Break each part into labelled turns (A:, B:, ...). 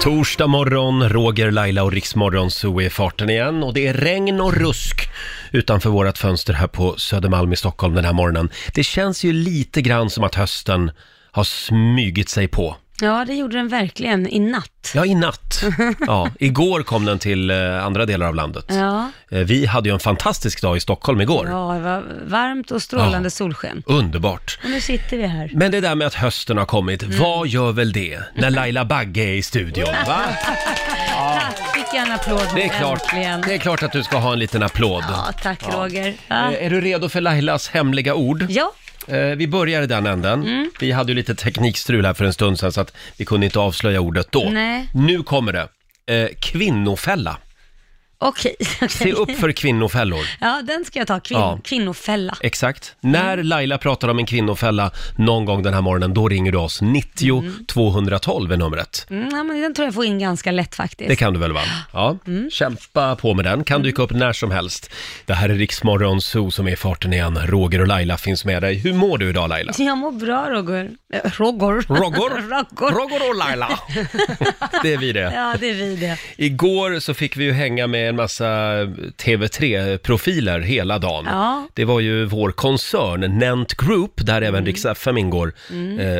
A: Torsdag morgon, Roger, Laila och Riksmorgon så är farten igen och det är regn och rusk utanför vårat fönster här på Södermalm i Stockholm den här morgonen. Det känns ju lite grann som att hösten har smygit sig på.
B: Ja, det gjorde den verkligen i natt.
A: Ja, i natt. Ja, igår kom den till eh, andra delar av landet.
B: Ja,
A: Eh, Vi hade ju en fantastisk dag i Stockholm igår.
B: ja det var varmt och strålande
A: Ja.
B: solsken.
A: Underbart.
B: Och nu sitter vi här.
A: Men det där med att hösten har kommit,
B: Mm.
A: vad gör väl det när Laila Bagge är i studion? Va?
B: Tack, fick jag en applåd
A: Det är, klart,
B: äntligen.
A: det är klart att du ska ha en liten applåd.
B: Ja, tack Roger. Ja.
A: Eh, Är du redo för Lailas hemliga ord?
B: Ah. ja, Mm.
A: Eh, Vi börjar i den änden. Vi hade ju lite teknikstrul här för en stund sedan så att vi kunde inte avslöja ordet då.
B: Nej.
A: Nu kommer det. Eh, Kvinnofälla.
B: okej.
A: Se upp för kvinnofällor.
B: Ja, den ska jag ta. Kvin-
A: Ja.
B: Kvinnofälla.
A: Exakt.
B: Mm.
A: När Laila pratar om en kvinnofälla någon gång den här morgonen, då ringer du oss. 90 212 är numret.
B: Mm, ja, men den tror jag får in ganska lätt faktiskt.
A: Det kan du väl va? Ja.
B: Mm.
A: Kämpa på med den, kan dyka upp när som helst. Det här är Riksmorgon Zoo som är i farten igen. Roger och Laila finns med dig. Hur mår du idag Laila?
B: Jag mår bra Roger. Eh, Roger.
A: Roger,
B: Roger.
A: Roger och Laila. Det är vi det.
B: Ja, det är vi det.
A: Igår så fick vi ju hänga med en massa TV3-profiler hela dagen.
B: Ja.
A: Det var ju vår koncern Nent Group, där även Rix
B: Mm.
A: FM ingår,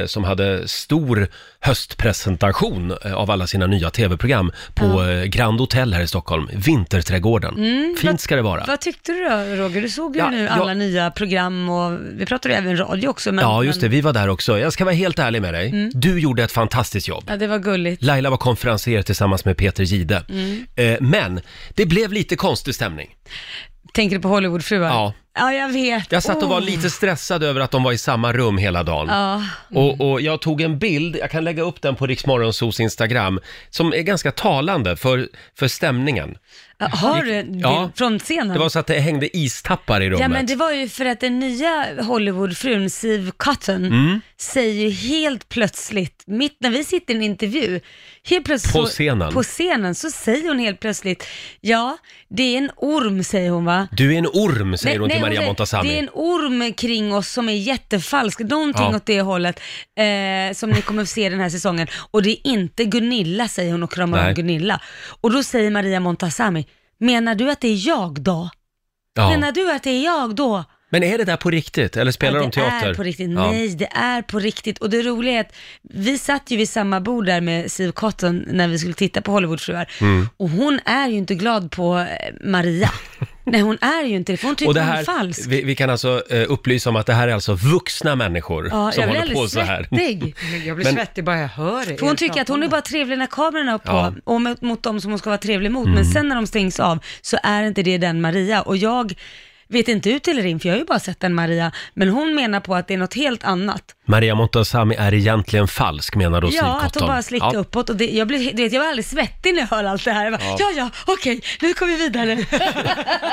A: eh, som hade stor höstpresentation eh, av alla sina nya TV-program på eh, Grand Hotel här i Stockholm, Vinterträdgården. Fint ska det vara.
B: Mm, Vad tyckte du då, Roger? Du såg ju
A: Ja,
B: nu
A: jag-
B: alla nya program och vi pratade ju även radio också. Men,
A: Ja, just det.
B: men-
A: Vi var där också. Jag ska vara helt ärlig med dig.
B: Mm.
A: Du gjorde ett fantastiskt jobb.
B: Ja, det var gulligt.
A: Laila var konferenser tillsammans med Peter Gide.
B: Mm.
A: Eh, men det blev lite konstig stämning.
B: Tänker du på Hollywoodfruar?
A: Ja.
B: Ja, jag vet.
A: Jag satt och var
B: Oh.
A: lite stressad över att de var i samma rum hela dagen.
B: Ja.
A: Och, och jag tog en bild, jag kan lägga upp den på Riksmorgonsos Instagram, som är ganska talande för, för stämningen.
B: Har du en bild
A: Ja.
B: från scenen?
A: Det var så att det hängde istappar i rummet.
B: Ja men det var ju för att den nya Hollywoodfrun Siv Cotton
A: Mm.
B: säger ju helt plötsligt, mitt när vi sitter i en intervju, helt plötsligt
A: På
B: så,
A: scenen.
B: på scenen så säger hon helt plötsligt, ja det är en orm säger hon va?
A: Du är en orm, säger hon till Maria
B: säger,
A: Montazami.
B: Det är en orm kring oss som är jättefalsk, någonting
A: Ja.
B: åt det hållet, eh, som ni kommer att se den här säsongen. Och det är inte Gunilla, säger hon och kramar
A: Nej.
B: om Gunilla. Och då säger Maria Montazami, menar du att det är jag då?
A: ja.
B: Menar du att det är jag då?
A: Men är det där på riktigt, eller spelar
B: Nej,
A: de teater?
B: Det är på riktigt.
A: Ja.
B: Nej, det är på riktigt. Och det roliga är att vi satt ju vid samma bord där med Siv Cotton när vi skulle titta på Hollywoodfruar.
A: Mm.
B: Och hon är ju inte glad på eh, Maria. Nej, hon är ju inte det, för hon tycker
A: Och det
B: hon är
A: här,
B: falsk.
A: vi, vi kan alltså eh, upplysa om att det här är alltså vuxna människor
B: Ja,
A: som
B: jag blir
A: håller på
B: alldeles
A: så här.
B: svettig.
C: Men jag blir
A: Men-
C: svettig bara jag hör det.
B: För hon tycker att hon är bara trevlig när kameran är på
A: Ja. Mm.
B: och mot, mot dem som hon ska vara trevlig mot. Men sen när de stängs av så är inte det den Maria. Och jag vet inte ut eller in, för jag har ju bara sett den Maria. Men hon menar på att det är något helt annat.
A: Maria Montazami är egentligen falsk menar då Siw
B: Ja, att hon
A: Cotton.
B: bara slickar
A: Ja.
B: uppåt. Och det, jag, blir, du vet, jag var alldeles svettig när jag hör allt det här. Jag bara, ja, ja, okej, nu går vi vidare.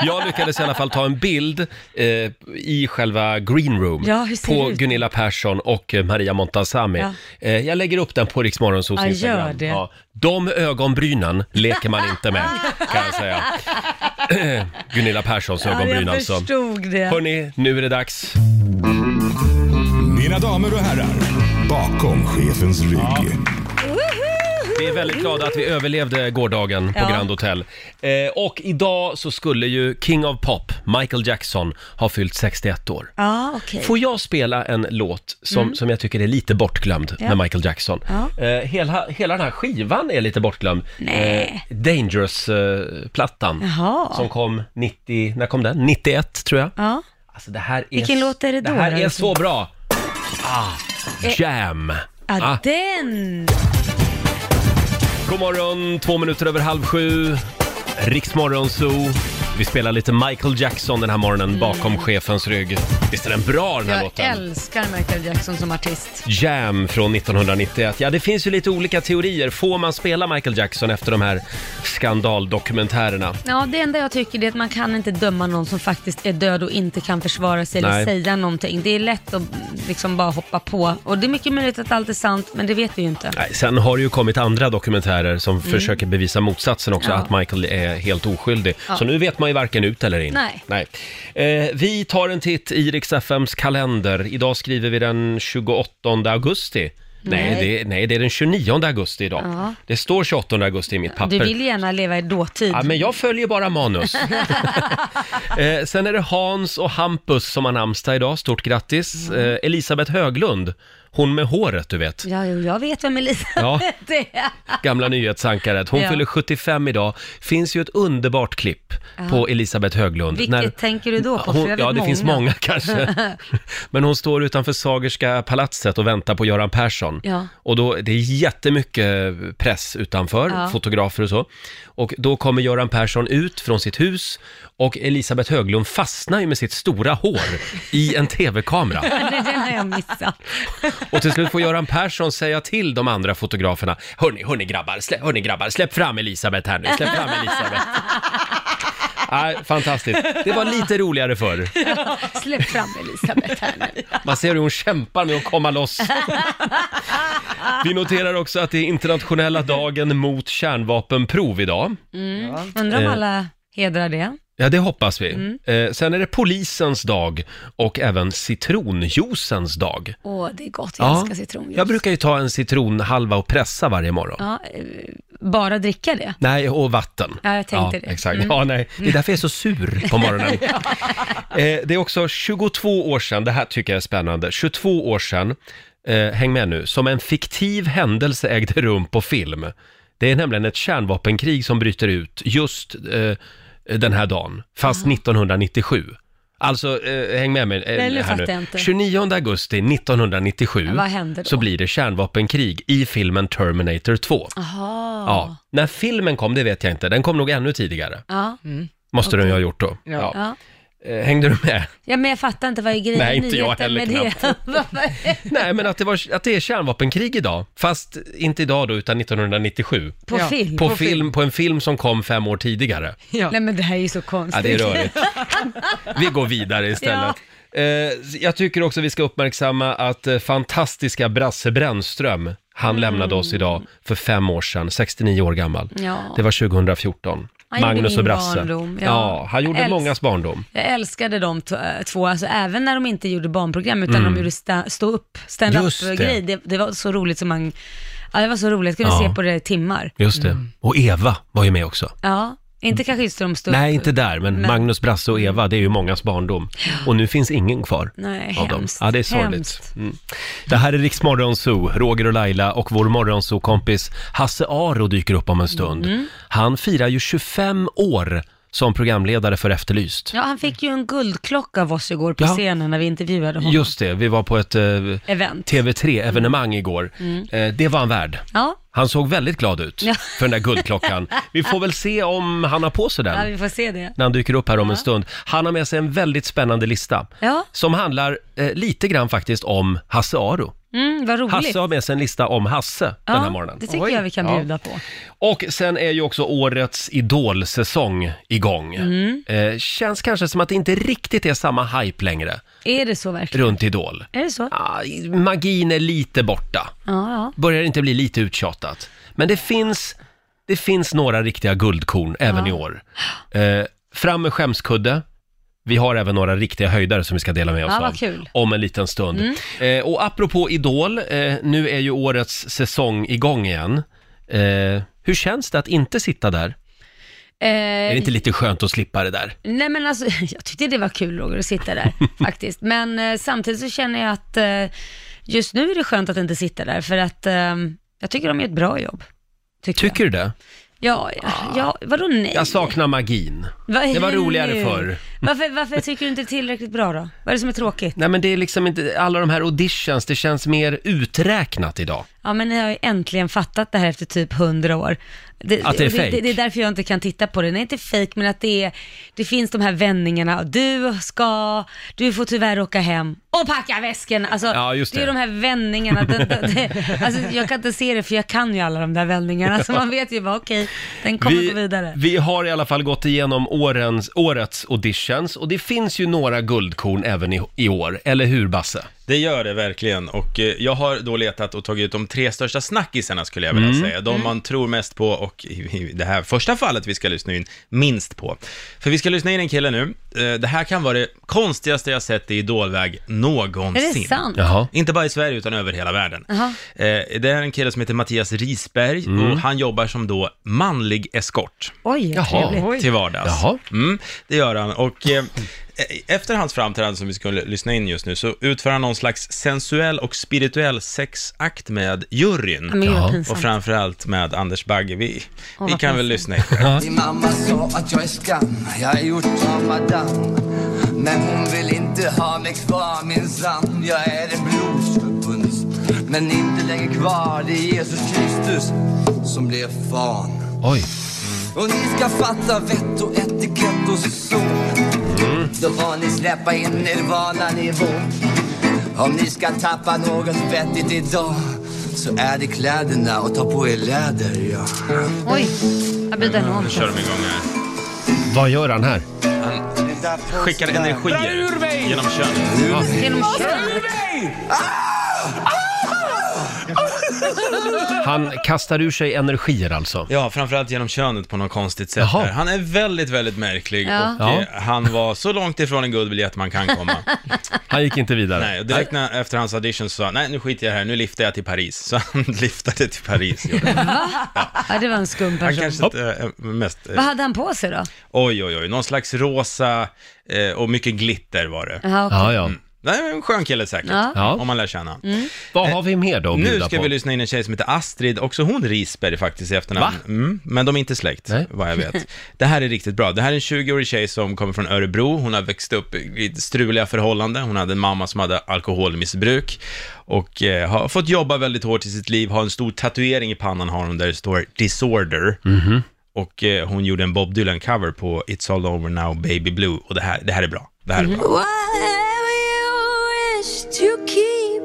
A: Jag lyckades i alla fall ta en bild eh, i själva green room
B: Ja, hur ser
A: på
B: det ut?
A: Gunilla Persson och eh, Maria Montazami.
B: Ja.
A: Eh, jag lägger upp den på Rix Morgonzos
B: Ja, gör
A: Instagram.
B: det.
A: De ögonbrynen leker man inte med, kan jag säga. Gunilla Perssons
B: ja,
A: ögonbryn
B: jag
A: alltså.
B: förstod det.
A: Hörni, nu är det dags.
D: Mina damer och herrar, bakom chefens rygg.
A: Vi är väldigt glada att vi överlevde gårdagen på
B: Ja.
A: Grand Hotel. Eh, och idag så skulle ju King of Pop, Michael Jackson, ha fyllt 61 år.
B: Ja, okej.
A: Får jag spela en låt som, som jag tycker är lite bortglömd
B: Mm. Ja.
A: med Michael Jackson?
B: Ja.
A: Eh, hela, hela den här skivan är lite bortglömd.
B: Nej.
A: Eh, Dangerous-plattan
B: Jaha.
A: som kom 90, när kom den? 91 tror jag.
B: Ja.
A: Alltså det här är...
B: Vilken
A: s-
B: låt är det då,
A: Det här
B: då, Eh.
A: är
B: liksom?
A: så bra! Ah, jam!
B: Ja,
A: Ah,
B: den!
A: God morgon, två minuter över halv sju. Riksmorgon Zoo. Vi spelar lite Michael Jackson den här morgonen bakom chefens rygg. Visst är den bra den här
C: Jag
A: låten?
C: älskar Michael Jackson som artist.
A: Jam från 1991. Ja, det finns ju lite olika teorier. Får man spela Michael Jackson efter de här skandaldokumentärerna?
B: Ja, det enda jag tycker det är att man kan inte döma någon som faktiskt är död och inte kan försvara sig
A: Nej.
B: eller säga någonting. Det är lätt att liksom bara hoppa på. Och det är mycket möjligt att allt är sant, men det vet vi ju inte.
A: Nej, sen har det ju kommit andra dokumentärer som försöker bevisa motsatsen också,
B: Mm. Ja.
A: att Michael är helt oskyldig. Så nu vet man ju varken ut eller in.
B: Nej.
A: Eh, vi tar en titt i Rix FMs kalender. Idag skriver vi den 28 augusti. Nej,
B: Nej.
A: det, nej, det är den 29 augusti idag.
B: Ja.
A: Det står 28 augusti i mitt papper.
B: Du vill gärna leva i dåtid.
A: Ja, men jag följer bara manus. eh, sen är det Hans och Hampus som har namnsdag idag. Stort grattis. Eh, Elisabeth Höglund, hon med håret du vet.
B: Ja, jo, jag vet vem Elisabeth är.
A: Gamla nyhetsankaret. Hon
B: Ja.
A: fyller 75 idag. Finns ju ett underbart klipp på Elisabeth Höglund.
B: Vilket tänker du då på? För
A: hon,
B: jag vet
A: ja, det finns många
B: många
A: kanske. Men hon står utanför Sagerska palatset och väntar på Göran Persson.
B: Ja.
A: Och då, det är jättemycket press utanför,
B: Ja.
A: fotografer och så. Och då kommer Göran Persson ut från sitt hus och Elisabeth Höglund fastnar ju med sitt stora hår i en tv-kamera.
B: Den den har jag missat.
A: Och till slut får Göran Persson säga till de andra fotograferna, hörni, hörni grabbar, slä, hörni grabbar, släpp fram Elisabeth här nu, släpp fram Elisabeth. Nej, fantastiskt. Det var lite roligare förr.
B: Släpp fram Elisabeth här nu.
A: Man ser hur hon kämpar med att komma loss. Vi noterar också att det är internationella dagen mot kärnvapenprov idag.
B: Undrar
A: Eh.
B: om alla hedrar det.
A: Ja, det hoppas vi. Eh, sen är det polisens dag och även citronjuicens dag.
B: Åh, det är gott. Jag älskar citronjuice.
A: Jag brukar ju ta en citronhalva och pressa varje morgon.
B: ja, eh, bara dricka det.
A: Nej, och vatten.
B: Ja, jag tänkte det. Mm.
A: Exakt. Ja, nej. Det är därför jag är så sur på morgonen. eh, det är också 22 år sedan, det här tycker jag är spännande, 22 år sedan, eh, häng med nu, som en fiktiv händelse ägde rum på film. Det är nämligen ett kärnvapenkrig som bryter ut just eh, den här dagen, fast 1997. Alltså, eh, häng med mig eh,
B: Nej, nu
A: här
B: fattar jag
A: nu.
B: inte.
A: 29 augusti 1997
B: Vad händer då?
A: så blir det kärnvapenkrig i filmen Terminator 2.
B: Jaha.
A: Ja. När filmen kom, det vet jag inte. Den kom nog ännu tidigare.
B: Ja.
A: Måste den ju ha gjort då. Ja.
B: Ja.
A: Eh, Hängde du med?
B: ja, men jag fattar inte vad är grejen
A: Nej,
B: i
A: inte jag
B: nyheten
A: heller
B: med det.
A: Nej, men att det, var, att det är kärnvapenkrig idag. Fast inte idag då, utan 1997.
B: På
C: Ja.
B: film?
A: På,
C: På
A: film,
C: film.
A: på en film som kom fem år tidigare.
C: Ja.
B: Nej men det här är ju så
A: Ja,
B: konstigt.
A: det är rörigt. Vi går vidare istället. Eh, Jag tycker också vi ska uppmärksamma att eh, fantastiska Brasse Brännström, han
B: Mm.
A: lämnade oss idag för fem år sedan, 69 år gammal.
B: Ja.
A: Det var 2014.
B: Han gjorde
A: Magnus
B: min
A: och Brasse.
B: barndom,
A: ja.
B: ja.
A: han gjorde
B: Älsk-
A: mångas barndom.
B: Jag älskade de t- äh, två, alltså även när de inte gjorde barnprogram utan de gjorde sta- stå upp, stand
A: Mm. Just det.
B: up grej. Det, det var så roligt som man, ja det var så roligt, jag kunde
A: Ja.
B: se på det i timmar.
A: Just det.
B: Mm.
A: Och Eva var ju med också.
B: Ja, inte kanske just de stod
A: Nej,
B: upp.
A: inte där, men, Magnus, Brasse och Eva, det är ju mångas barndom. Och nu finns ingen kvar
B: Mm. Nej,
A: av dem.
B: hemskt.
A: Ja, det är sorgligt.
B: Hemskt.
A: Mm. Det här är Rix Morgonzoo, Roger och Laila och vår Morgonzoo-kompis Hasse Aro dyker upp om en stund.
B: Mm.
A: Han firar ju 25 år som programledare för Efterlyst.
B: Ja, han fick ju en guldklocka av oss igår på
A: Ja.
B: scenen när vi intervjuade honom.
A: Just det, vi var på ett eh,
B: Event. Mm.
A: TV3-evenemang igår. Eh, det var han värd.
B: Ja.
A: Han såg väldigt glad ut
B: Ja.
A: för den där guldklockan. Vi får väl se om han har på sig den.
B: ja, vi får se det.
A: när han dyker upp här om en stund. Han har med sig en väldigt spännande lista.
B: Ja.
A: Som handlar eh, lite grann faktiskt om Hasse Aro.
B: Mm, vad roligt.
A: Hasse har med sig en lista om Hasse
B: ja,
A: den här morgonen.
B: det tycker
C: Oj.
B: jag vi kan
A: Ja.
B: bjuda på.
A: Och sen är ju också årets idolsäsong igång.
B: Mm.
A: Eh, känns kanske som att det inte riktigt är samma hype längre
B: Är det så verkligen?
A: runt Idol.
B: Är det så? Ja,
A: Ah, magin är lite borta.
B: ja.
A: Börjar inte bli lite uttjatat. Men det finns, det finns några riktiga guldkorn även i år. Eh, fram med skämskudde. Vi har även några riktiga höjdare som vi ska dela med oss
B: Ja, vad
A: av
B: kul. Mm.
A: om en liten stund. Eh, och apropå Idol, eh, nu är ju årets säsong igång igen. Eh, hur känns det att inte sitta där? Är det
B: Eh,
A: inte lite skönt att slippa det där?
B: Nej men alltså, jag tyckte det var kul Roger att sitta där faktiskt. Men eh, samtidigt så känner jag att eh, just nu är det skönt att inte sitta där för att eh, jag tycker de gör ett bra jobb. Tycker,
A: Tycker du det?
B: jag. Ja, ja, ja, vadå nej?
A: Jag saknar magin.
B: Vad är
A: det var
B: nu?
A: roligare förr.
B: Varför, varför tycker du inte det är tillräckligt bra då? Vad är det som är tråkigt?
A: Nej men det är liksom inte, alla de här auditions, det känns mer uträknat idag.
B: Ja men ni har ju äntligen fattat det här efter typ hundra år. Det,
A: Att det är
B: och det,
A: fake.
B: det, det är därför jag inte kan titta på det. Nej inte fake men att det är, det finns de här vändningarna. Du ska, du får tyvärr åka hem och packa väskan. Alltså,
A: Ja, just
B: är
A: det.
B: de här vändningarna. Det, det, det, alltså, jag kan inte se det för jag kan ju alla de där vändningarna. Så man vet ju bara okej, den kommer gå vidare.
A: vi har i alla fall gått igenom årens, årets auditions och det finns ju några guldkorn även i, i år, eller hur Basse?
E: Det gör det verkligen och eh, jag har då letat och tagit ut de tre största snackisarna skulle jag vilja
B: Mm.
E: säga. De man tror mest på och i i det här första fallet vi ska lyssna in minst på. För vi ska lyssna in en kille nu eh, det här kan vara det konstigaste jag sett i idolväg någonsin.
B: Är det sant?
A: Jaha.
E: Inte bara i Sverige utan över hela världen.
B: Jaha.
E: Eh, det är en kille som heter Mattias Risberg
B: Mm.
E: och han jobbar som då manlig eskort
B: Oj,
A: Jaha.
B: vad trevligt.
C: Oj.
E: till vardags.
A: Jaha.
E: Mm, det gör han. Och eh, e- efter hans framträdande som vi skulle lyssna in just nu så utför han någon slags sensuell och spirituell sexakt med juryn.
B: Men gud
A: Jaha.
B: vad
E: Och
B: pinsamt.
E: framförallt med Anders Bagge. Vi,
B: vad
E: vi kan väl
B: pinsamt.
E: lyssna in.
F: Min mamma sa att jag är skam, jag är gjort av madam. Men hon vill inte ha mig kvar minsann. Jag är en blodsförbunds, men inte längre kvar. Det är Jesus Kristus som blev fan.
A: Oj.
F: Och ni ska fatta vett och etikett och son. Då får ni släppa in nirvana-nivån. Om ni ska tappa något vettigt idag så är det kläderna och ta på er läder, ja.
B: Oj, jag blir den
E: Nu kör de igång här.
A: Vad gör han här?
E: skickar energier genom könet.
B: Genom könet.
A: Han kastar ur sig energier alltså.
E: Ja, framförallt genom könet på något konstigt sätt.
A: Jaha.
E: där. Han är väldigt, väldigt märklig
B: Ja.
E: och
A: Ja.
E: eh, han var så långt ifrån en guldbiljett man kan komma.
A: Han gick inte vidare.
E: nej, och direkt när, efter hans audition så sa han, nej nu skiter jag i det här, nu liftar jag till Paris. Så han liftade till Paris. gjorde han.
B: Ja, det var en skum
E: Han
B: person.
E: kanske inte är mest... eh,
B: Vad hade han på sig då?
E: Oj, oj, oj, någon slags rosa eh, och mycket glitter var det.
B: Jaha, okej.
A: Ja, ja.
E: Nej, men en skön kille säkert,
B: Ja.
A: Ja.
E: om man lär känna han.
A: Vad har vi mer då att
E: Nu
A: bjuda
E: ska
A: på?
E: vi lyssna in en tjej som heter Astrid, också hon Risberg faktiskt i efternamn.
A: Va?
E: Mm, men de är inte släkt,
A: Nej.
E: vad jag vet. Det här är riktigt bra. Det här är en 20-årig tjej som kommer från Örebro. Hon har växt upp i lite struliga förhållanden. Hon hade en mamma som hade alkoholmissbruk och eh, har fått jobba väldigt hårt i sitt liv. Har en stor tatuering i pannan har hon där det står “disorder”.
A: Mhm.
E: Och eh, hon gjorde en Bob Dylan-cover på “It's all over now, baby blue” och det här, det här är bra. Det
A: Mhm.
E: här är bra.
G: Whatever you wish to keep,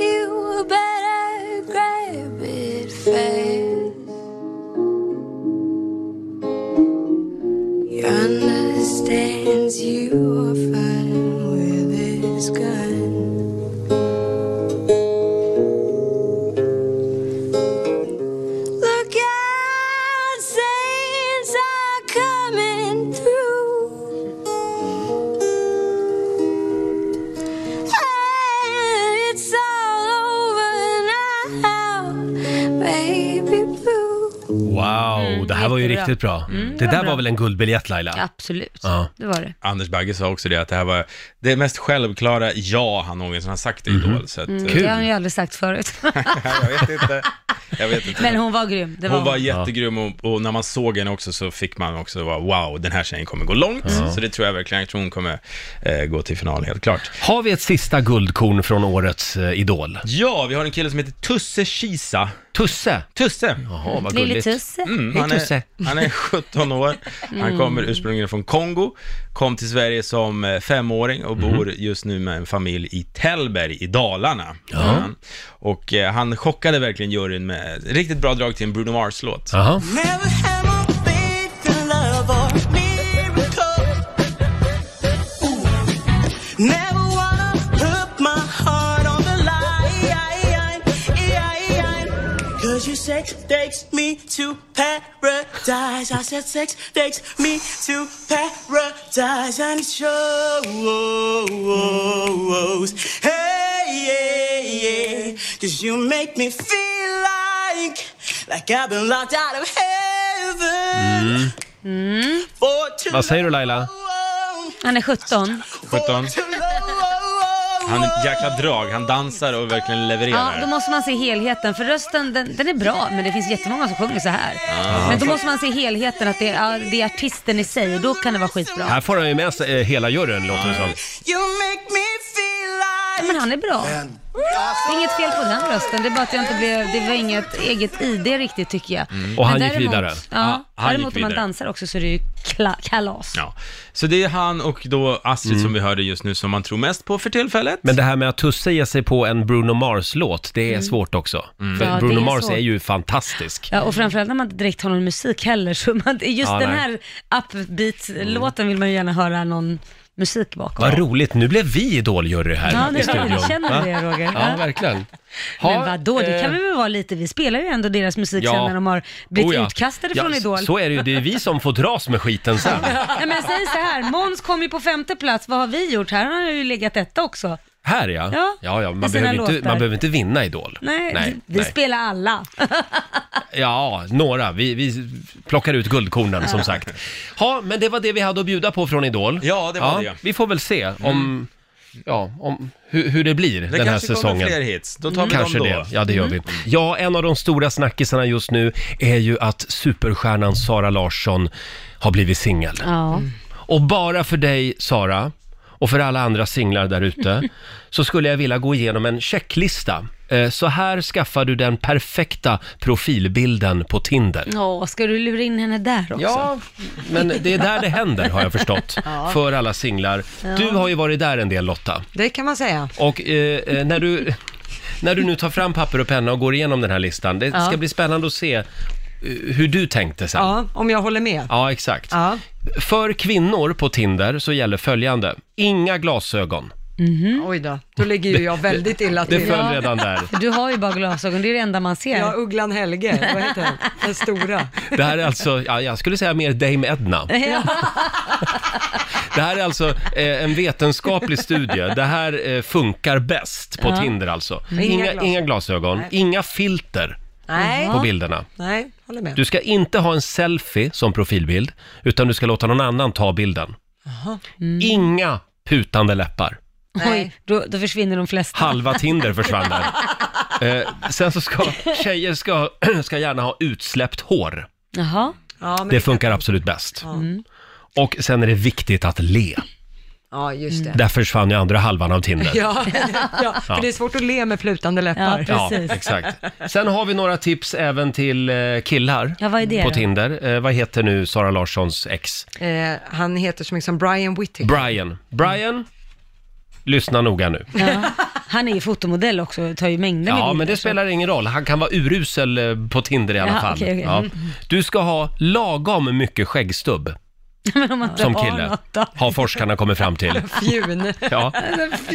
G: you better grab it fast. You understands you are fine with his gun. Look out, saints are coming through. It's all over now, baby blue.
A: Wow, det här var ju
B: Mm, jättebra. Mm,
A: riktigt bra. det där var väl en guldbiljett Laila?
B: Absolut,
A: Ja.
B: det var det.
E: Anders Bagge sa också det, att det här var det mest självklara ja han någonsin har sagt i Idol. Så att, eh,
A: Kul.
B: Det har hon ju aldrig sagt förut.
E: jag vet inte. Jag vet inte.
B: Men hon var grym. Det var
E: Hon var
B: hon.
E: jättegrym och, och när man såg henne också så fick man också vara wow, den här tjejen kommer gå långt. Så det tror jag verkligen, jag tror hon kommer eh, gå till final helt klart.
A: Har vi ett sista guldkorn från årets eh, Idol?
E: Ja, vi har en kille som heter Tusse Kisa.
A: Tusse!
E: Tusse!
A: Jaha, vad
B: Lille
A: gulligt.
B: Tusse.
E: Mm,
A: Hej, Mm.
E: han,
A: Tusse.
E: är, han är 17 år, han kommer ursprungligen från Kongo, kom till Sverige som eh, femåring och bor
A: Mm.
E: just nu med en familj i Tällberg i Dalarna. Mm. Och eh, han chockade verkligen juryn med ett riktigt bra drag till en Bruno Mars-låt.
A: Jaha.
H: Never have I faith in love or miracle. Never wanna put my heart on the line. Cause you sex takes me to paradise. I said sex takes me to paradise. And it shows. Hey, yeah, yeah. Cause you make me feel like, like I've been locked out of heaven. For too
A: Vad säger du Laila?
H: long.
B: Han är
A: Mm.
B: 17.
E: 17.
H: Too long.
E: Han är ett jäkla drag, han dansar och verkligen
B: Ja,
E: levererar.
B: då måste man se helheten. För rösten, den, den är bra, men det finns jättemånga som sjunger så här. Men då måste man se helheten, att det är, ja, det är artisten i sig och då kan det vara skitbra.
A: Här får han ju med sig eh, hela juryn låter det som.
H: You make me feel like.
B: Men han är bra. Det är inget fel på den rösten, det är bara att jag inte blev, det var inget eget ID riktigt tycker jag.
A: Mm. Och
B: Men
A: han gick
B: däremot-
A: vidare.
B: Ja,
E: Ja, han gick
B: däremot om man
E: vidare.
B: dansar också så är det ju kla- kalas.
E: Ja. Så det är han och då Astrid som vi hörde just nu som man tror mest på för tillfället.
A: Mm. Men det här med att Tusse ger sig på en Bruno Mars-låt, det är svårt också. För
B: Mm. Ja, det
A: Bruno
B: är
A: Mars
B: svårt.
A: är ju fantastisk.
B: Ja, och framförallt när man inte direkt har någon musik heller, så man, just
A: Ja,
B: den
A: nej.
B: här upbeat-låten vill man ju gärna höra någon musik bakom.
A: Vad roligt, nu blev vi idoljury här
B: Ja, nu
A: i
B: blev vi.
A: studion.
B: Känner du
A: Va?
B: det, Roger?
A: Ja,
B: Ja.
A: verkligen.
B: Men
A: Ha,
B: vadå, det kan
A: eh,
B: vi väl vara lite, vi spelar ju ändå deras musik
A: ja.
B: sen när de har blivit
A: Oh ja.
B: utkastade
A: Ja,
B: från
A: s-
B: Idol.
A: Så är det ju, det är vi som får dras med skiten sen.
B: Nej, men jag säger så här, Måns kom ju på femte plats, vad har vi gjort? Här har han ju legat etta också.
A: Här ja.
B: Ja,
A: ja, ja man,
B: med sina
A: behöver inte,
B: låtar.
A: man behöver inte vinna Idol.
B: Nej,
A: nej,
B: vi- vi
A: nej.
B: spelar alla.
A: Ja, några. Vi, vi plockar ut guldkornen som sagt. Ja, men det var det vi hade att bjuda på från Idol.
E: Ja, det var det.
A: Vi får väl se om, ja, om hur, hur det blir
E: Det
A: den här
E: kanske kommer
A: säsongen.
E: fler hits. Då tar vi
A: Kanske
E: dem då. Mm.
A: det, ja det gör vi. Ja, en av de stora snackisarna just nu är ju att superstjärnan Sara Larsson har blivit singel.
B: Ja.
A: Och bara för dig Sara, och för alla andra singlar där ute, så skulle jag vilja gå igenom en checklista. Eh, Så här skaffar du den perfekta profilbilden på Tinder.
B: Åh, ska du lura in henne där också?
A: Ja, men det är där det händer har jag förstått, för alla singlar. Du har ju varit där en del Lotta.
C: Det kan man säga.
A: Och eh, eh, när, du, när du nu tar fram papper och penna och går igenom den här listan, det ska bli spännande att se eh, hur du tänkte sen. Ja,
C: Ja, om jag håller med.
A: exakt.
C: Ja.
A: För kvinnor på Tinder så gäller följande. Inga glasögon.
B: Mm.
C: Oj då, då ligger ju jag väldigt illa
A: Det
C: till.
A: föll
B: Ja.
A: redan där.
B: För Du har ju bara glasögon, det är det enda man ser.
C: Ja, Ugglan Helge, vad heter han? Den stora.
A: Det här är alltså, ja, jag skulle säga mer Dame Edna. Det här är alltså eh, en vetenskaplig studie. Det här eh, funkar bäst på Tinder alltså. Inga,
C: glasögon.
A: inga glasögon, inga filter
C: Nej,
A: på bilderna.
C: nej, håller med.
A: Du ska inte ha en selfie som profilbild, utan du ska låta någon annan ta bilden. Mm. Inga putande läppar.
B: Oj, då, då försvinner de flesta.
A: Halva Tinder försvann där. Eh, sen så ska tjejer ska, ska gärna ha utsläppt hår.
B: Jaha.
C: Ja, men,
A: Det funkar absolut bäst. Och sen är det viktigt att le.
C: ja just det.
A: Där försvann ju andra halvan av Tinder.
C: Ja, ja, för det är svårt att le med plutande
B: Ja,
C: läppar.
A: Ja,
B: precis.
A: exakt. Sen har vi några tips även till eh, killar
B: Ja, vad är det
A: på
B: då?
A: Tinder. Eh, vad heter nu Sara Larssons ex?
C: Eh, han heter som liksom Brian Whitting.
A: Brian. Brian, lyssna noga nu.
B: Ja. Han är ju fotomodell också, tar ju mängder med
A: Ja,
B: bilder,
A: men det
B: så-
A: spelar ingen roll. Han kan vara urusel eh, på Tinder i alla
B: Ja,
A: fall.
B: okej, okej.
A: Ja.
B: Mm.
A: Du ska ha lagom mycket skäggstubb
B: Men om man inte
A: som
B: har
A: kille,
B: något då.
A: har forskarna kommit fram till.
C: Fjun.
A: Ja,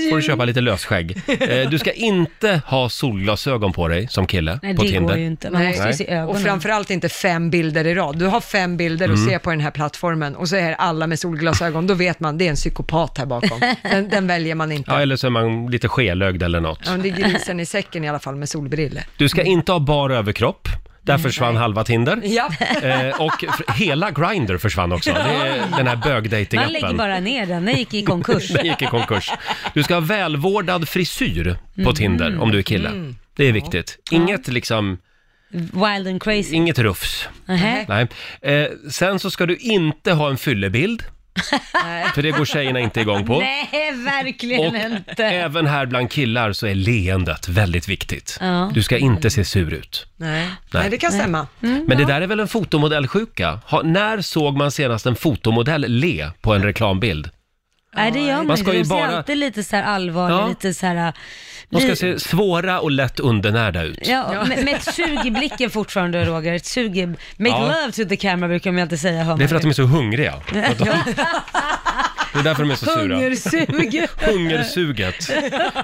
A: får du köpa lite lösskägg. Eh, Du ska inte ha solglasögon på dig som kille
B: Nej,
A: på
B: det
A: Tinder.
B: går ju inte. Man måste ju
A: Nej.
B: se
C: Och
B: ögonen.
C: framförallt inte fem bilder i rad. Du har fem bilder att
A: Mm.
C: se på den här plattformen och så är alla med solglasögon. Då vet man, det är en psykopat här bakom. Den, den väljer man inte.
A: Ja, eller så är man lite skelögd eller något.
C: Ja, men det är grisen i säcken i alla fall med solbriller.
A: Du ska inte ha bar överkropp. Där försvann halva Tinder.
C: Ja.
A: Eh, och fr- hela Grindr försvann också. Det är den här
B: Man lägger
A: bögdatingappen.
B: bara ner den, den gick i konkurs.
A: Den gick i konkurs. Du ska ha välvårdad frisyr
B: Mm.
A: på Tinder om du är kille. Det är viktigt. Inget liksom,
B: Wild and crazy.
A: inget rufs.
B: Nähä.
A: Nej. Eh, sen så ska du inte ha en fyllebild. För det går tjejerna inte igång på.
B: Nej, verkligen
A: Och
B: inte.
A: även här bland killar så är leendet väldigt viktigt.
B: Ja.
A: Du ska inte se sur ut.
C: Nej. Nej, det kan stämma.
A: Men det där är väl en fotomodellsjuka? Ha, när såg man senast en fotomodell le på en reklambild?
B: Nej, det gör man
A: ska
B: inte.
A: ju
B: De ser
A: bara-
B: alltid lite så här allvarliga,
A: Ja.
B: lite så här...
A: De ska
B: li-
A: se svåra och lätt undernärda ut.
B: Ja, med, med ett sug i blicken fortfarande Roger. Ett sug i... Make
A: Ja.
B: love to the camera brukar man ju alltid säga. Hör
A: Det är för att
B: man
A: de
B: ju.
A: är så hungriga. För att de- Det är därför de är så sura.
B: Hungersug.
A: Hungersuget.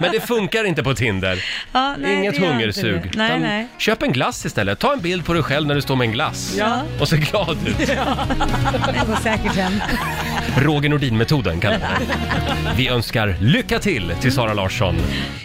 A: Men det funkar inte på Tinder.
B: Ja, nej,
A: Inget
B: det gör inte
A: hungersug.
B: det. Nej,
A: Utan
B: nej.
A: Köp en glass istället. Ta en bild på dig själv när du står med en glass. Och se glad ut.
B: Det går säkert hem.
A: Roger Nordin-metoden kallar vi det. Vi önskar lycka till till Sara Larsson.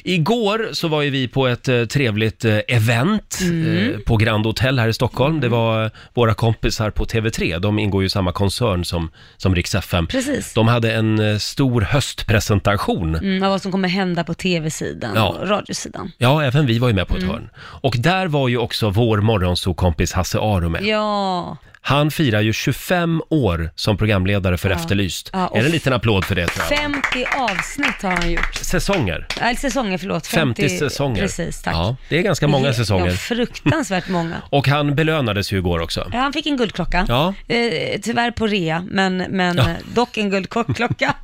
A: Igår så var ju vi på ett eh, trevligt eh, event eh,
B: Mm.
A: på Grand Hotel här i Stockholm. Det var eh, våra kompisar på TV3, de ingår ju i samma koncern som, som Rix FM.
B: Precis.
A: De hade en eh, stor höstpresentation.
B: Mm, av vad som kommer hända på tv-sidan
A: Ja.
B: och radiosidan.
A: Ja, även vi var ju med på ett
B: Mm.
A: hörn. Och där var ju också vår morgonsokompis Hasse Aro med.
B: Ja,
A: Han firar ju 25 år som programledare för Efterlyst.
B: Ja, och
A: är det en liten applåd för det tror jag?
B: 50 avsnitt har han gjort.
A: Säsonger.
B: Äh, säsonger, förlåt.
A: 50 säsonger.
B: Precis, tack.
A: Ja, det är ganska många
B: Ja,
A: säsonger.
B: fruktansvärt många.
A: Och han belönades ju igår också.
B: Ja, han fick en guldklocka.
A: Ja.
B: Eh, tyvärr på rea, men, men
A: Ja.
B: eh, dock en guldklocka.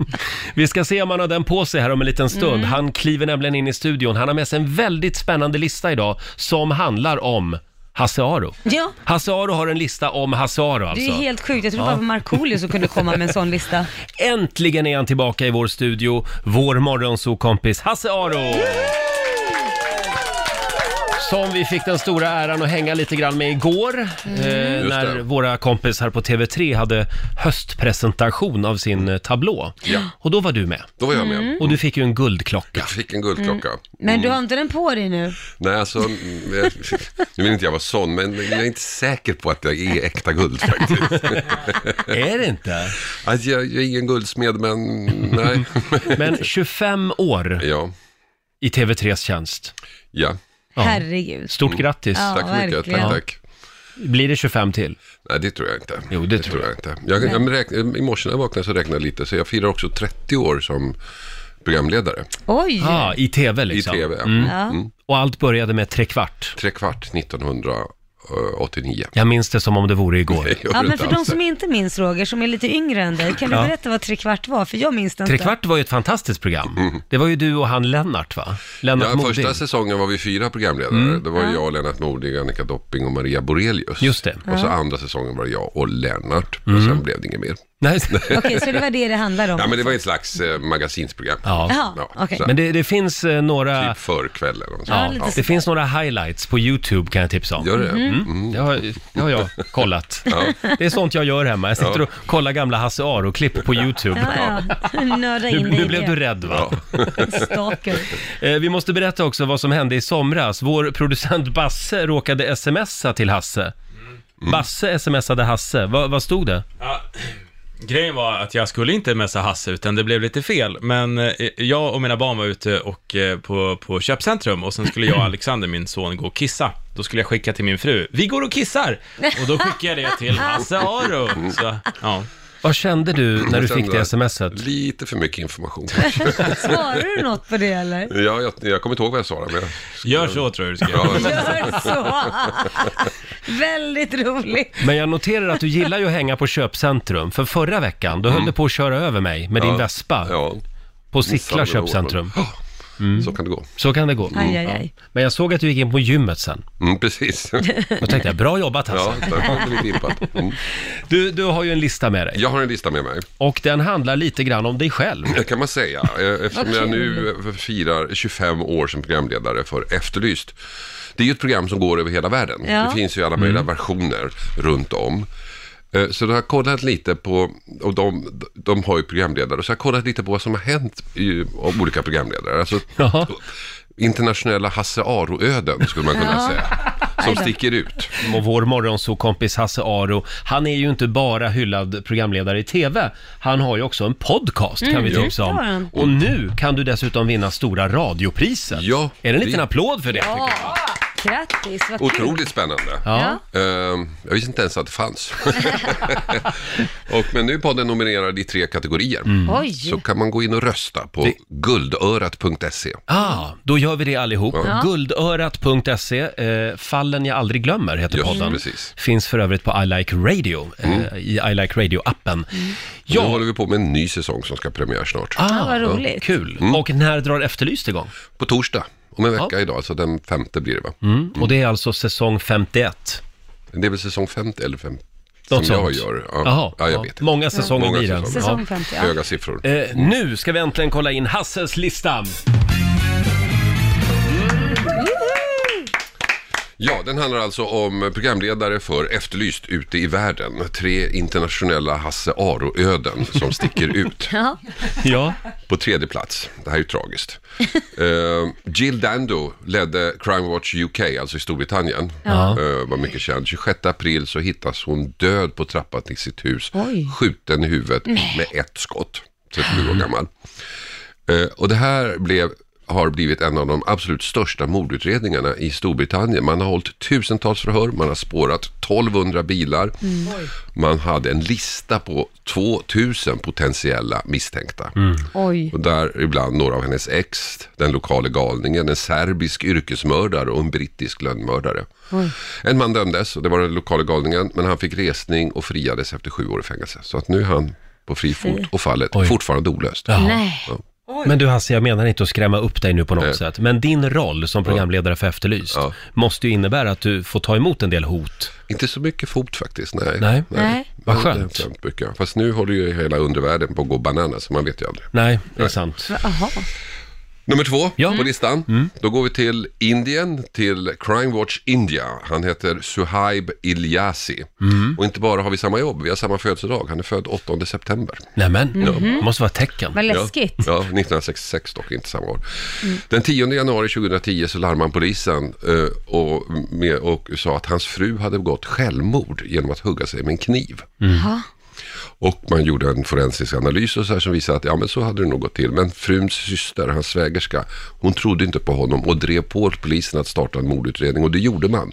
A: Vi ska se om han har den på sig här om en liten stund.
B: Mm.
A: Han kliver nämligen in i studion. Han har med sig en väldigt spännande lista idag som handlar om Hasse Aro.
B: Ja.
A: Hasse Aro har en lista om Hasse Aro
B: Det är
A: alltså.
B: ju helt sjukt. Jag trodde bara det var Markoolio som kunde komma med en sån lista.
A: Äntligen är han tillbaka i vår studio, vår morgonsokompis Hasse Aro! Som vi fick den stora äran att hänga lite grann med igår eh,
E: Just
A: när
E: det.
A: våra kompisar på TV3 hade höstpresentation av sin eh, tablå.
I: Ja.
A: Och då var du med.
I: Då var jag med.
A: Och du fick ju en guldklocka.
I: Jag fick en guldklocka.
B: Men
A: Mm.
B: du har inte den på dig nu?
I: Nej, alltså, mm, jag, nu vill inte jag vara sån, men jag är inte säker på att det är äkta guld faktiskt.
A: Är det inte?
I: Alltså, jag, jag är ingen guldsmed, men nej.
A: Men 25 år
I: Ja,
A: i TV3s tjänst.
I: ja.
B: Herregud.
A: Stort grattis.
B: Ja.
I: tack så mycket.
B: verkligen.
I: Tack, tack.
A: Blir det 25 till?
I: Nej, det tror jag inte.
A: Jo, det tror
I: jag inte. Jag, jag räkna, I morse när jag vaknade så räknade jag lite, så jag firar också 30 år som programledare
B: Oj!
A: Ja, ah, i TV
I: i
A: liksom.
I: tv.
B: Ja.
A: Och allt började med trekvart.
I: Tre kvart 1989.
A: Jag minns det som om det vore igår.
I: Det gör
B: Ja,
I: du
B: men
I: inte
B: för de
I: alls.
B: som inte minns Roger, som är lite yngre än dig, kan du berätta vad trekvart var? För jag minns det inte.
A: Trekvart var ju ett fantastiskt program. Det var ju du och han Lennart va? Lennart
I: Mm. Ja,
A: Modig.
I: första säsongen var vi fyra programledare. Det var jag, Lennart Modig, Annika Dopping och Maria Borelius.
A: Just det. Mm.
I: Och så andra säsongen var det jag och Lennart. Och sen blev det inget mer.
A: Nej.
B: Okej, så det var det det handlade om?
I: Ja, men det var ett slags eh, magasinsprogram.
A: Ja.
B: Jaha, okej.
I: så här,
A: Men det, det finns eh, några...
I: Typ förkvällen. och så.
B: Ja,
A: Ja,
B: lite
A: det
B: sådär.
A: finns några highlights på YouTube kan jag tipsa om.
I: Gör
B: Mm-hmm.
I: det? Mm.
A: Det har, det har jag kollat. Det är sånt jag gör hemma. Jag sitter och kollar gamla Hasse Aro-klipp på YouTube.
B: Ja, ja. Nörda in
A: Nu,
B: dig
A: nu
B: i
A: blev
B: det.
A: du rädd va?
B: Stalker.
A: Eh, Vi måste berätta också vad som hände i somras. Vår producent Basse råkade smsa till Hasse.
I: Mm.
A: Basse smsade Hasse. Va, vad stod det?
E: Ja, grejen var att jag skulle inte messa Hasse, utan det blev lite fel. Men eh, jag och mina barn var ute och eh, på, på köpcentrum och sen skulle jag och Alexander, min son, gå och kissa. Då skulle jag skicka till min fru, vi går och kissar! Och då skickade jag det till Hasse Aro. Så, ja.
A: Vad kände du när du
I: Jag
A: fick
I: kände
A: det smset?
I: Lite för mycket information kanske.
B: Svarar du något på det eller?
I: ja, jag, jag kommer inte ihåg vad jag svarade, men jag
E: Gör så tror jag du ska göra.
I: Ja,
B: Gör så! Väldigt roligt.
A: Men jag noterar att du gillar ju att hänga på köpcentrum. För förra veckan, då höll du på att köra över mig med din vespa
I: Mm. ja,
A: på
I: missade
A: Sickla
I: det året,
A: köpcentrum. Mm.
I: men- Ja, Så kan det gå.
A: Så kan det gå. Mm.
B: Aj, aj, aj.
A: Men jag såg att du gick in på gymmet sen.
I: Mm, precis.
A: Då tänkte jag, bra jobbat Hasse.
I: Ja, där kom det lite in på att- mm.
A: Du, du har ju en lista med dig.
I: Jag har en lista med mig.
A: Och den handlar lite grann om dig själv.
I: Det kan man säga. Eh, Eftersom jag nu eh, firar 25 år som programledare för Efterlyst. Det är ju ett program som går över hela världen.
B: Ja.
I: Det finns ju alla möjliga versioner runt om. Eh, Så jag har kollat lite på, och de, de har ju programledare, så jag har kollat lite på vad som har hänt i, av olika programledare. Alltså,
A: Jaha.
I: internationella Hasse Aro-öden skulle man kunna säga. Som sticker ut.
A: Och vår morgonsokompis Hasse Aro, han är ju inte bara hyllad programledare i TV, han har ju också en podcast kan vi tipsa
B: Mm, det har
A: om.
B: han.
A: Och nu kan du dessutom vinna stora radiopriset.
I: Ja,
A: är det en
I: det-
A: liten applåd för det?
B: Ja, grattis, vad kul.
I: Otroligt spännande.
A: Ja.
I: Eh, jag visste inte ens att det fanns. och, men nu är podden nominerad i tre kategorier.
A: Mm.
I: Så
B: Oj,
I: kan man gå in och rösta på guldörat.se.
A: Ah, då gör vi det allihop. Guldörat.se, eh, Fallen jag aldrig glömmer heter
I: Just,
A: podden.
I: precis.
A: Finns för övrigt på I Like Radio, eh, i I Like Radio-appen.
I: Ja. Mm. Nu
A: Ja,
I: håller vi på med en ny säsong som ska premiär snart.
A: ah,
B: vad roligt.
A: Kul.
I: Mm.
A: Och när drar Efterlyst igång?
I: På torsdag, om en vecka idag, så den femte blir det va?
A: Och det är alltså säsong 51.
I: Det är väl säsong 50 eller 50? Som
A: Något
I: jag
A: sånt.
I: gör. Ja,
A: Jaha,
I: ja jag
A: ja.
I: vet inte.
A: Många säsonger
I: Många
A: blir det.
I: säsonger.
B: säsong 50. Ja.
I: Höga siffror.
A: Eh, nu ska vi äntligen kolla in Hasses lista.
I: Ja, den handlar alltså om programledare för Efterlyst ute i världen. Tre internationella Hasse Aro-öden som sticker ut.
B: Ja.
A: Ja.
I: På tredje plats, det här är ju tragiskt. Eh, Jill Dando ledde Crime Watch UK, alltså i Storbritannien. Eh, var mycket känd. 26 april så hittas hon död på trappan till sitt hus. Skjuten i huvudet med ett skott. 37 år gammal. Eh, och det här blev, har blivit en av de absolut största mordutredningarna i Storbritannien. Man har hållit tusentals förhör, man har spårat 1200 bilar. Man hade en lista på 2000 potentiella misstänkta.
B: Oj,
I: Och där ibland några av hennes ex, den lokale galningen, en serbisk yrkesmördare och en brittisk lönnmördare. En man dömdes, och det var den lokale galningen, men han fick resning och friades efter sju år i fängelse. Så att nu är han på fri fot och fallet fortfarande olöst.
A: Ja.
B: nej.
I: Ja.
A: Men du Hasse, jag menar inte att skrämma upp dig nu på något
I: Nej.
A: sätt. Men din roll som programledare för Efterlyst
I: Ja.
A: måste ju innebära att du får ta emot en del hot.
I: Inte så mycket fot faktiskt, nej.
A: Nej.
B: Nej.
A: Vad skönt.
I: Nej, det har inte hänt mycket. Fast nu håller ju hela undervärlden på att gå bananas, så man vet ju aldrig.
A: Nej, det är sant.
B: Jaha.
I: Nummer två
A: Ja.
I: på listan. Då går vi till Indien, till Crime Watch India. Han heter Suhaib Ilyasi. Och inte bara har vi samma jobb, vi har samma födelsedag. Han är född 8 september.
A: Nämen,
B: Mhm.
A: det måste vara ett tecken.
B: Vad läskigt.
I: Ja, ja, 1966 dock, inte samma år. Den 10 januari 2010 så larmade han polisen eh, och, med, och sa att hans fru hade begått självmord genom att hugga sig med en kniv.
A: Mm.
B: Jaha.
I: Och man gjorde en forensisk analys och så här som visade att ja, men så hade det nog gått till. Men fruns syster, hans svägerska, hon trodde inte på honom och drev på polisen att starta en mordutredning och det gjorde man.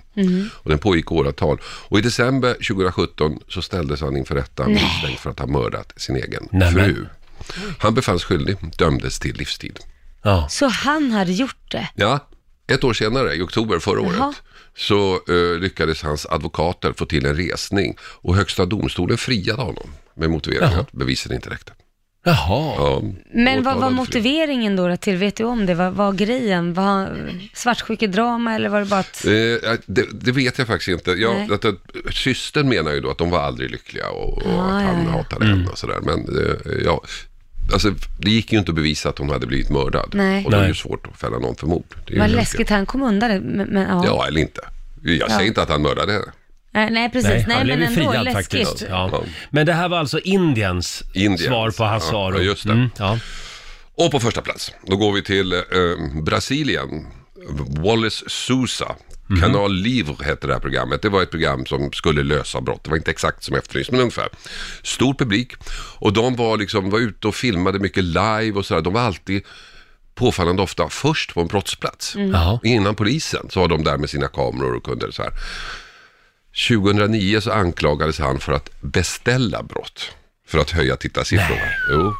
I: Och den pågick i åratal. Och i december 2017 så ställdes han inför rätta misstänkt för att ha mördat sin egen
A: Nämen.
I: fru. Han befanns skyldig, dömdes till livstid.
A: Ja.
B: Så han hade gjort det?
I: Ja, ett år senare, i oktober förra året,
B: Jaha.
I: så eh, lyckades hans advokater få till en resning och högsta domstolen friade honom med motiveringen
A: Jaha.
I: att bevisen inte räckte.
A: Jaha.
I: Ja,
B: Men vad var
I: åtalad fri.
B: motiveringen då till? Vet du om det? Vad var grejen? Var han svartsjukedrama eller var det bara att...
I: Eh, det, det vet jag faktiskt inte.
B: Nej.
I: Jag, att, att, systern menar ju då att de var aldrig lyckliga och, och
B: Ah,
I: att han
B: ja, ja.
I: hatade henne och sådär. Men eh, ja, alltså, det gick ju inte att bevisa att hon hade blivit mördad.
B: Nej.
I: Och då är det ju
A: Nej.
I: svårt att fälla någon för mord. Det är ju
B: Vad
I: helt
B: läskigt, han kom undan det. Men, men, ja.
I: Ja, eller inte. Jag säger inte att han mördade henne.
B: Nej, nej, precis.
A: Nej,
B: Nej,
A: han blev
B: men
A: ju
B: ändå
A: friad
B: läskigt.
A: faktiskt. Ja.
I: Ja.
A: Men det här var alltså Indiens
I: Indiens.
A: svar på hans
I: Ja,
A: svar.
I: ja, just det.
A: ja.
I: Och på första plats, då går vi till eh, Brasilien. Wallace Sousa. Kanal Livre hette det här programmet. Det var ett program som skulle lösa brott. Det var inte exakt som Efterlyst, men ungefär. Stor publik. Och de var liksom, var ute och filmade mycket live och sådär. De var alltid påfallande ofta först på en brottsplats.
B: Mm.
A: Jaha.
I: Innan polisen så var de där med sina kameror och kunde så här. 2009 så anklagades han för att beställa brott för att höja tittarsiffrorna. Jo.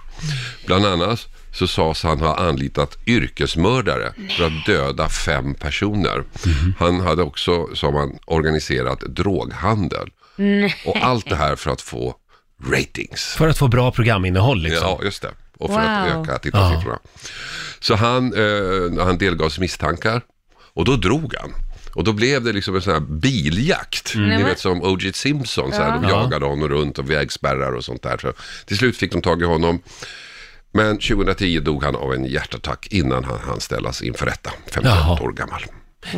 I: Bland annat så sades han ha anlitat yrkesmördare för att döda fem personer. Han hade också, sa man, organiserat droghandel. Och allt det här för att få ratings.
A: För att få bra programinnehåll liksom.
I: Ja, just det. Och för att
B: Wow.
I: öka tittarsiffrorna. Så han, eh, han delgavs misstankar och då drog han. Och då blev det liksom en sån här biljakt. Ni vet som O.J. Simpson, så här, de
A: Ja.
I: jagade honom runt och vägspärrar och sånt där. Så till slut fick de tag i honom. Men 2010 dog han av en hjärtattack innan han hann ställas inför rätta, 51
A: Jaha.
I: år gammal.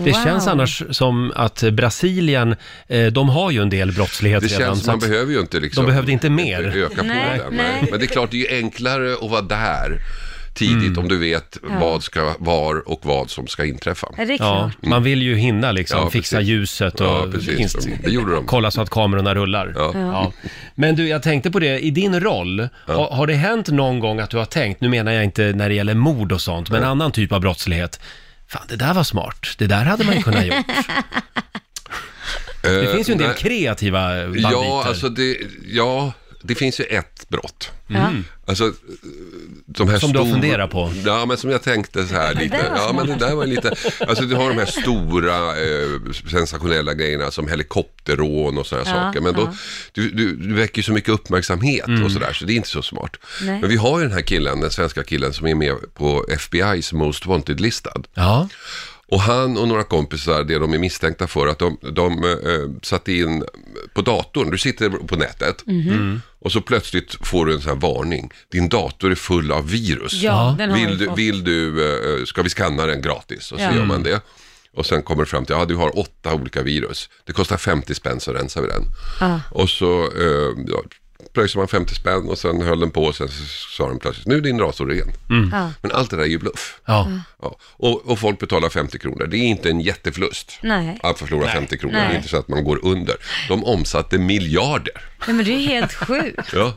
A: Det
B: Wow.
A: känns annars som att Brasilien, eh, de har ju en del brottslighet
I: Det
A: redan.
I: känns,
A: så
I: man
A: att
I: behöver ju inte liksom
A: de behövde inte mer.
I: öka
B: Nej,
I: på den.
B: nej.
I: Men det är klart, det är ju enklare att vara där tidigt
A: Mm.
I: om du vet vad ska, var och vad som ska inträffa.
B: Är det
A: Ja,
B: klart?
A: man vill ju hinna liksom,
I: Ja,
A: fixa
I: precis.
A: ljuset och
I: Ja, precis.
A: inst-
I: Det gjorde de.
A: kolla så att kamerorna rullar.
I: Ja.
A: Men du, jag tänkte på det, i din roll, har, har det hänt någon gång att du har tänkt, nu menar jag inte när det gäller mord och sånt, men annan typ av brottslighet, fan det där var smart, det där hade man ju kunnat gjort. Det finns ju en del
I: Eh, nej.
A: kreativa banditer.
I: Eh, Ja, alltså det, ja, det finns ju ett brott.
A: Mm.
I: Alltså, de här
A: Som du har funderat på?
I: Ja, men som jag tänkte så här lite. Ja, men det där var lite... Alltså du har de här stora eh, sensationella grejerna som helikopterrån och sådana saker. Men då, du, du, du väcker ju så mycket uppmärksamhet
A: Mm.
I: och sådär, så det är inte så smart.
B: Nej.
I: Men vi har ju den här killen, den svenska killen som är med på FBI's Most Wanted-listad.
A: Ja,
I: Och han och några kompisar, det de är misstänkta för, att de, de eh, satte in på datorn, du sitter på nätet
B: Mhm.
I: Mm. och så plötsligt får du en sån här varning, din dator är full av virus.
B: Ja, den har
I: vill,
B: vi
I: du,
B: fått.
I: vill du, eh, ska vi skanna den gratis? Och så
B: Ja. Mm.
I: gör man det. Och sen kommer det fram till, ja du har åtta olika virus. Det kostar 50 spänn så rensar vi den. Och så eh, ja, pröjsade man 50 spänn och sen höll den på och sen sa de plötsligt, nu är din dator ren.
B: Ja.
I: Men allt det där är ju bluff.
A: ja.
I: Ja. Och, och folk betalar 50 kronor. Det är inte en jätteförlust
B: Nej.
I: att förlora 50 kronor.
B: Nej.
I: Det är inte så att man går under. De omsatte miljarder.
B: Nej, men det är ju helt sjukt.
I: Ja.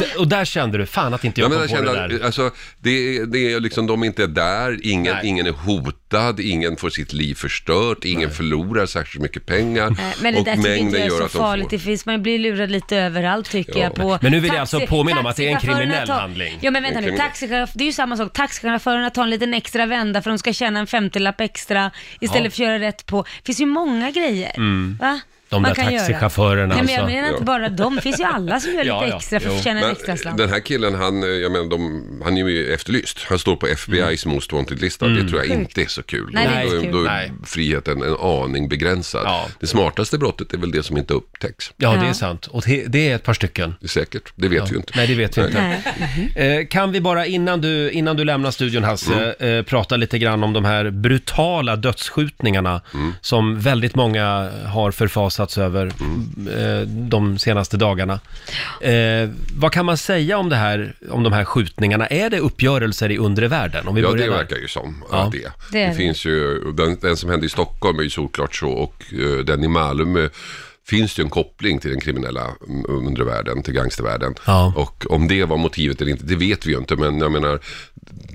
A: D- och där kände du, fan att inte jag
I: Jag
A: kom
I: menar,
A: på
I: känner,
A: det där.
I: alltså, det, är- det är liksom, de inte är där, ingen,
A: Nej.
I: ingen är hotad, ingen får sitt liv förstört, ingen förlorar särskilt mycket pengar.
B: Nej, Eh, Men det där tycker inte jag är så
I: de
B: farligt.
I: får-
B: Det finns, man blir lurad lite överallt tycker
I: Ja.
B: jag. På
A: Men nu vill jag alltså påminna om att det är en
B: taxichaufförerna
A: kriminell
B: tar-
A: handling.
B: Ja men vänta nu,
I: Kriminell.
B: taxichauff- det är ju samma sak. Taxichaufförerna tar en liten extra vända för de ska tjäna en 50-lapp extra istället
A: Ja. Mm.
B: för att göra rätt på. Det finns ju många grejer. Va?
A: De
B: man
A: där
B: kan göra.
A: taxichaufförerna
B: Nej, men
A: alltså.
B: jag menar inte
I: Ja.
B: bara de, det finns ju alla som gör
E: Ja,
B: lite
E: ja.
B: extra för
E: Jo.
B: att tjäna en
I: Men eh,
B: extra slant.
I: den här killen, han, eh, jag menar, de, han är ju efterlyst. Han står på FBI's Most Wanted-lista. Det tror jag inte är så kul.
B: Nej, det är
I: då,
B: inte kul.
I: då är
A: Mm. Nej.
I: friheten en aning begränsad.
A: Ja.
I: Det smartaste brottet är väl det som inte upptäcks.
A: Ja, det är
B: Ja.
A: sant. Och det, det är ett par stycken.
I: Det är säkert, det vet
A: Ja.
I: vi ju inte.
A: Nej, det vet vi inte.
B: Nej.
A: Eh, Kan vi bara innan du, innan du lämnar studion Hasse,
I: Mm.
A: eh, prata lite grann om de här brutala dödsskjutningarna
I: Mm.
A: som väldigt många har förfasats över
I: Mm.
A: eh, de senaste dagarna. Eh, Vad kan man säga om, det här, om de här skjutningarna? Är det uppgörelser i undre världen? Om vi
I: Ja,
A: börjar
I: det
A: där.
I: verkar ju som
A: Ja.
I: ja. det.
B: Det är
I: Det,
B: det.
I: finns ju, den, den som hände i Stockholm är ju såklart så och eh, den i Malmö finns det ju en koppling till den kriminella mm, undervärlden, till gangstervärlden.
A: Ja.
I: Och om det var motivet eller inte, det vet vi ju inte, men jag menar,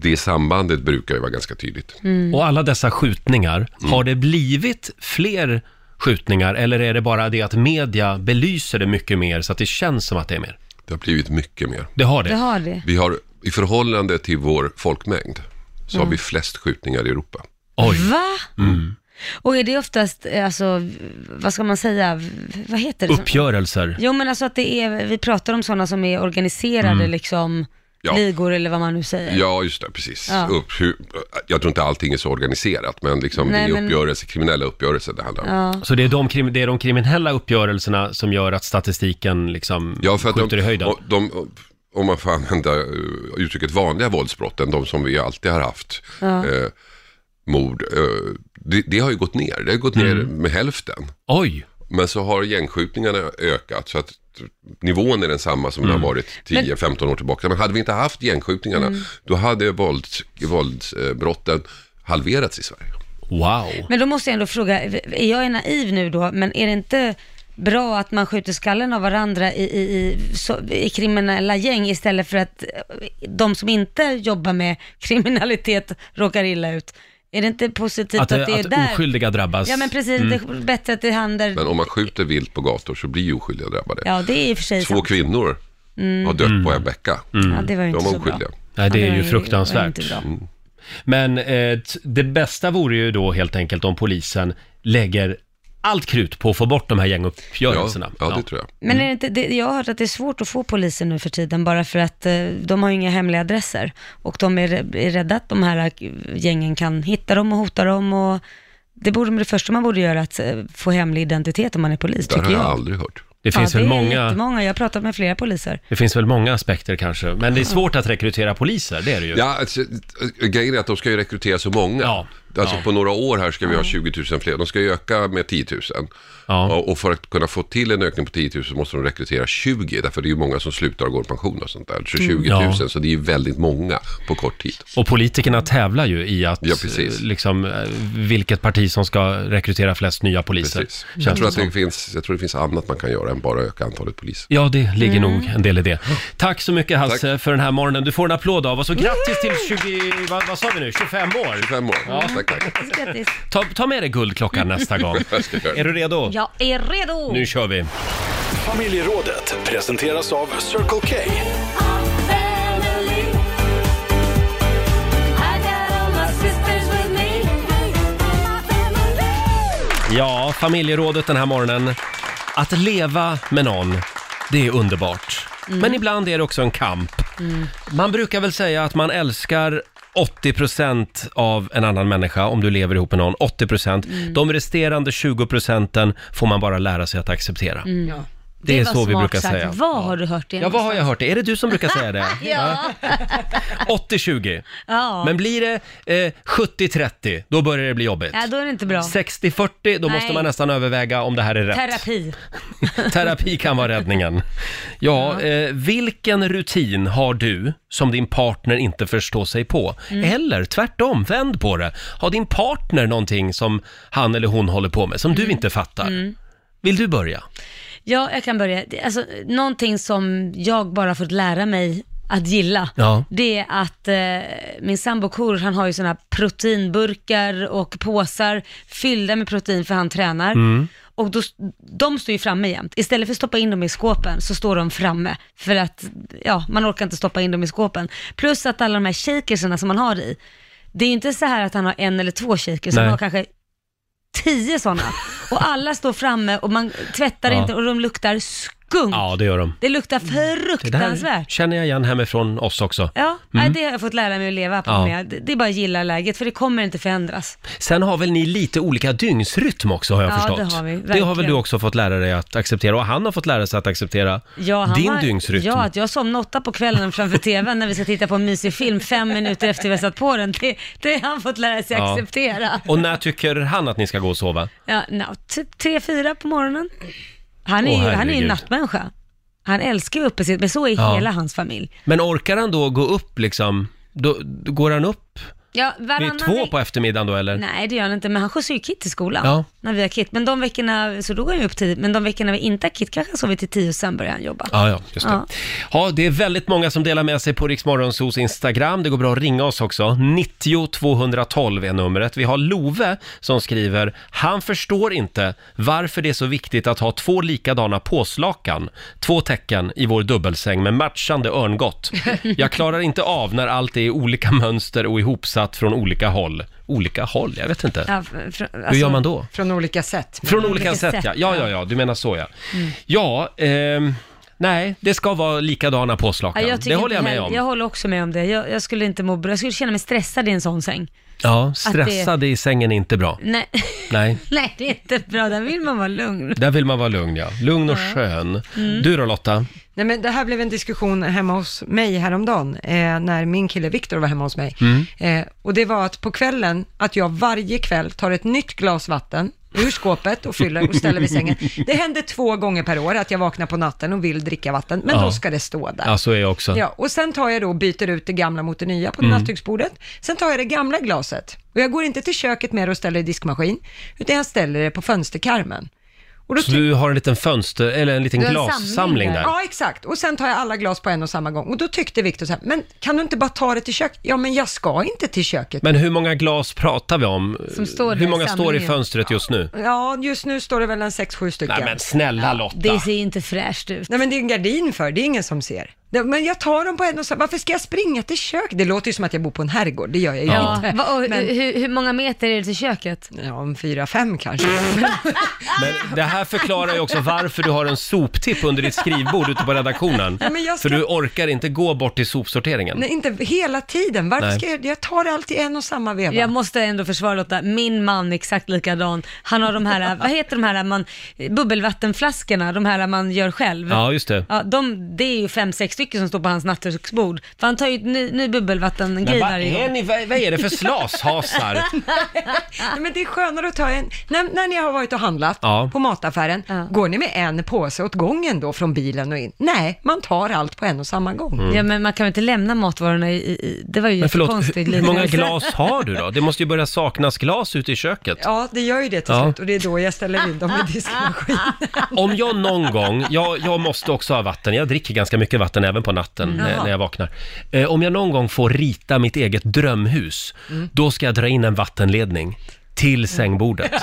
I: det sambandet brukar ju vara ganska tydligt.
B: Mm.
A: Och alla dessa skjutningar,
I: Mm.
A: har det blivit fler skjutningar eller är det bara det att media belyser det mycket mer så att det känns som att det är mer?
I: Det har blivit mycket mer.
A: Det har det.
B: Det har det.
I: Vi har, i förhållande till vår folkmängd, så
B: Mm.
I: har vi flest skjutningar i Europa.
A: Oj. Mm.
B: Va? Och är det oftast, eh, alltså, v- vad ska man säga, V- vad heter det? som-
A: Uppgörelser.
B: Jo men alltså att det är, vi pratar om sådana som är organiserade liksom,
I: Ja.
B: ligor eller vad man nu säger.
I: Ja, just det, precis.
B: Ja.
I: Upp, hur, jag tror inte allting är så organiserat, men liksom
B: Nej,
I: det är
B: men-
I: uppgörelser, kriminella uppgörelser det handlar om.
A: Så det är, de, krim- det är de kriminella uppgörelserna som gör att statistiken liksom
I: Ja, för att
A: skjuter i
I: de,
A: höjden?
I: och de, om man får använda eh, uttrycket vanliga våldsbrotten, de som vi alltid har haft, eh, mord, eh, det, det har ju gått ner. Det har gått ner med hälften.
A: Oj!
I: Men så har gängskjutningarna ökat, så att nivån är densamma som den har varit 10-15 år tillbaka. Men hade vi inte haft gängskjutningarna,
B: Mm.
I: då hade vålds, våldsbrotten halverats i Sverige.
A: Wow!
B: Men då måste jag ändå fråga, är jag naiv nu då, men är det inte bra att man skjuter skallen av varandra i, i, i, så, i kriminella gäng istället för att eh, de som inte jobbar med kriminalitet råkar illa ut? Är det inte positivt
A: Att,
B: att,
A: eh,
B: det är
A: att
B: där?
A: oskyldiga drabbas.
B: Ja men precis, det är bättre att det handlar...
I: Men om man skjuter vilt på gator så blir ju oskyldiga drabbade.
B: Ja det är i och för sig
I: Två
B: sant. Mm.
I: kvinnor har dött på en vecka.
B: Ja, det var ju
I: De
B: inte
I: var
B: så bra.
I: oskyldiga.
A: Nej, det
B: Ja,
A: är
B: var
A: ju
B: var
A: fruktansvärt. Mm.
B: inte bra.
A: Men eh, t- det bästa vore ju då helt enkelt om polisen lägger allt krut på att få bort de här
I: Ja,
A: gänguppgörelserna.
I: ja, det tror jag.
B: Men
A: Mm.
B: är det inte, det, jag har hört att det är svårt att få poliser nu för tiden bara för att eh, de har ju inga hemliga adresser och de är, rä- är rädda att de här eh, gängen kan hitta dem och hota dem och det borde det första man borde göra att eh, få hemlig identitet om man är polis,
I: Det har
B: tycker
I: jag
B: jag.
I: aldrig hört.
A: Det finns,
B: ja,
A: väl
B: det är
A: många,
B: jättemånga. Jag har pratat med flera poliser.
A: det finns väl många aspekter kanske, men det är svårt att rekrytera poliser, det är det ju.
I: Ja, alltså, grejen är att de ska ju rekrytera så många.
A: Ja,
I: Alltså
A: ja.
I: på några år här ska vi ha 20 000 fler. De ska ju öka med 10 000.
A: Ja.
I: Och- Och för att kunna få till en ökning på 10 000 så måste de rekrytera 20. Därför det är ju många som slutar och går i pension och sånt där. Så 20 000,
A: Mm. Ja.
I: så det är ju väldigt många på kort tid.
A: Och politikerna tävlar ju i att,
I: Ja, precis.
A: eh, liksom, eh, vilket parti som ska rekrytera flest nya poliser.
I: Precis.
A: känns
I: Jag tror, att
A: som.
I: det finns, jag tror det finns annat man kan göra än bara öka antalet poliser.
A: Ja, det ligger nog en del i det. Tack så mycket Hasse för den här morgonen. Du får en applåd av oss och grattis till 20, vad, vad sa vi nu, 25 år.
I: 25 år. Tack, tack.
B: Grattis.
A: Ta, ta med dig guldklockan nästa gång. Är du redo?
B: Jag är redo!
A: Nu kör vi.
D: Familjerådet presenteras av Circle K.
A: Ja, familjerådet den här morgonen. Att leva med någon, det är underbart. Men ibland är det också en kamp. Man brukar väl säga att man älskar 80% av en annan människa om du lever ihop med någon. 80%. De resterande 20% får man bara lära sig att acceptera.
C: Ja.
A: Det, är
B: var
A: så vi
B: smart
A: brukar
B: sagt.
A: säga.
B: Vad har du hört det?
A: Ja, vad har jag hört det? Är det du som brukar säga det?
B: Ja.
A: Ja. 80-20.
B: Ja.
A: Men blir det eh, 70-30, då börjar det bli jobbigt.
B: ja, då är det inte bra.
A: 60-40, då
B: Nej.
A: måste man nästan överväga om det här är rätt.
B: Terapi.
A: Terapi kan vara räddningen. Ja, eh, vilken rutin har du som din partner inte förstår sig på?
B: Mm.
A: Eller tvärtom, vänd på det. Har din partner någonting som han eller hon håller på med som
B: Mm.
A: du inte fattar? Vill du börja?
B: Ja, jag kan börja. Det- Alltså, någonting som jag bara fått lära mig att gilla,
A: Ja.
B: det är att eh, min sambo Kor, han har ju sådana proteinburkar och påsar fyllda med protein för han tränar.
A: Mm.
B: Och då, de står ju framme jämt. Istället för att stoppa in dem i skåpen så står de framme. För att ja, man orkar inte stoppa in dem i skåpen. Plus att alla de här shakerserna som man har i, det är ju inte så här att han har en eller två shakers, han
A: Nej.
B: har kanske tio sådana. Och alla står framme och man tvättar
A: Ja.
B: inte och de luktar skunk.
A: Ja, det gör de.
B: Det luktar
A: Det där
B: fruktansvärt.
A: känner jag igen hemifrån oss också.
B: Ja, nej, det har jag fått lära mig att leva på
A: Mm. Ja.
B: med. Det, det är bara att gilla läget, för det kommer inte förändras.
A: Sen har väl ni lite olika dygnsrytm också har jag
B: Ja, det
A: förstått.
B: har vi,
A: det har väl
B: verkligen.
A: du också fått lära dig att acceptera och han har fått lära sig att acceptera
B: Ja, han
A: din
B: var-
A: dygnsrytm.
B: Ja, att jag somnar åtta på kvällen framför tvn när vi ska titta på en mysig film fem minuter efter vi har satt på den. Det, det har han fått lära sig
A: Ja.
B: acceptera.
A: Och när tycker han att ni ska gå och sova?
B: Ja, no, typ tre, fyra på morgonen. Han är,
A: Åh,
B: ju, han är ju en
A: herregud.
B: nattmänniska. Han älskar ju uppe sitt, men så är
A: Ja.
B: hela hans familj.
A: Men orkar han då gå upp liksom? Då, då går han upp
B: Ja,
A: vid
B: varannan
A: två
B: veck-
A: på eftermiddagen då eller?
B: Nej, det gör han inte, men han skjutsar ju Kit till skolan
A: Ja.
B: när vi har Kit. Men de veckorna, så då går han ju upp tidigt, men de veckorna vi inte har Kit kanske han sover till tio och sen börjar han jobba.
A: Ja, ja, just det. Ja.
B: Ja.
A: det är väldigt många som delar med sig på Riksmorgonsos Instagram. Det går bra att ringa oss också. 90 212 är numret. Vi har Love som skriver, han förstår inte varför det är så viktigt att ha två likadana påslakan, två tecken i vår dubbelsäng med matchande örngott. Jag klarar inte av när allt är i olika mönster och ihopsatt från olika håll. Olika håll? Jag vet inte.
B: Ja, för- för-
A: Hur
B: alltså-
A: gör man då?
C: Från olika sätt.
A: Från olika
B: olika
A: sätt,
B: sätt, Mm.
A: ja. ja. Ja, ja, du menar så ja. Ja, ehm, nej, det ska vara likadana
B: Ja,
A: påslakan.
B: jag
A: det
B: tycker
A: håller jag
B: inte
A: med
B: heller-
A: om.
B: Jag håller också med om det. Jag, jag skulle inte må bra. Jag skulle känna mig stressad i en sån säng.
A: Ja, stressad i sängen är inte bra.
B: Nej,
A: Nej,
B: nej det är inte bra. Där vill man vara lugn.
A: där vill man vara lugn ja. Lugn och skön.
B: Mm.
A: Du då Lotta?
C: Nej, men det här blev en diskussion hemma hos mig häromdagen, eh, när min kille Viktor var hemma hos mig. Eh, och det var att på kvällen, att jag varje kväll tar ett nytt glas vatten ur skåpet och fyller och ställer vid sängen. Det händer två gånger per år att jag vaknar på natten och vill dricka vatten, men
A: Ja.
C: då ska det stå där.
A: Ja, Mm. så är Alltså, jag också.
C: Ja, och sen tar jag då och byter ut det gamla mot det nya på nattduksbordet. Sen tar jag det gamla glaset och jag går inte till köket mer och ställer i diskmaskin, utan jag ställer det på fönsterkarmen. Och då
A: Så
C: ty-
A: du har en liten fönster, eller en liten
B: Du har en
A: glassamling
B: samling
A: där.
B: där.
C: Ja, exakt. Och sen tar jag alla glas på en och samma gång. Och då tyckte Viktor så här, men kan du inte bara ta det till köket? Ja, men jag ska inte till köket.
A: Men hur många glas pratar vi om?
B: Som står där
A: hur
B: i
A: många står i
B: samlingen.
A: fönstret just nu?
C: Ja, just nu står det väl en sex sju stycken.
A: Nej men snälla Lotta!
B: Det ser ju inte fräscht ut.
C: Nej, men det är en gardin för, det är ingen som ser. Det- Men jag tar dem på en och samma, varför ska jag springa till köket? Det låter ju som att jag bor på en herrgård, det gör jag ju
B: Ja,
C: inte.
B: vad- och,
C: Men-
B: hur, hur många meter är det till köket?
C: Ja, om fyra, fem kanske.
A: Men det här förklarar ju också varför du har en soptipp under ditt skrivbord ute på redaktionen.
C: Ja, men jag ska-
A: För du orkar inte gå bort till sopsorteringen.
C: Nej, inte hela tiden. Varför
A: Nej.
C: ska jag, jag tar det alltid en och samma veva.
B: Jag måste ändå försvara Lotta, min man är exakt likadan. Han har de här, vad heter de här, man, bubbelvattenflaskorna, de här man gör själv.
A: Ja, just det.
B: Ja, de, det är ju fem, sex stycken som står på hans nattduksbord. För han tar ju ett ny, ny
A: Men
B: bubbelvattengrej
A: vad
B: varje
A: är,
B: gång.
A: ni, vad, vad är det för slashasar?
C: Nej, men det är skönare att ta en, när, när ni har varit och handlat
A: Ja.
C: på mataffären,
B: Ja.
C: går ni med en påse åt gången då från bilen och in? Nej, man tar allt på en och samma gång.
A: Mm.
B: Ja, men man kan väl inte lämna matvarorna i, i, i det var ju
A: Men förlåt,
B: jättekonstigt.
A: hur hur många glas har du då? Det måste ju börja saknas glas ute i köket.
C: Ja, det gör ju det till
A: Ja.
C: slut och det är då jag ställer in dem i diskmaskinen.
A: Om jag någon gång, jag, jag måste också ha vatten, jag dricker ganska mycket vatten även på natten när,
C: Jaha.
A: när jag vaknar. Eh, om jag någon gång får rita mitt eget drömhus,
B: Mm.
A: då ska jag dra in en vattenledning till sängbordet.
B: Ja,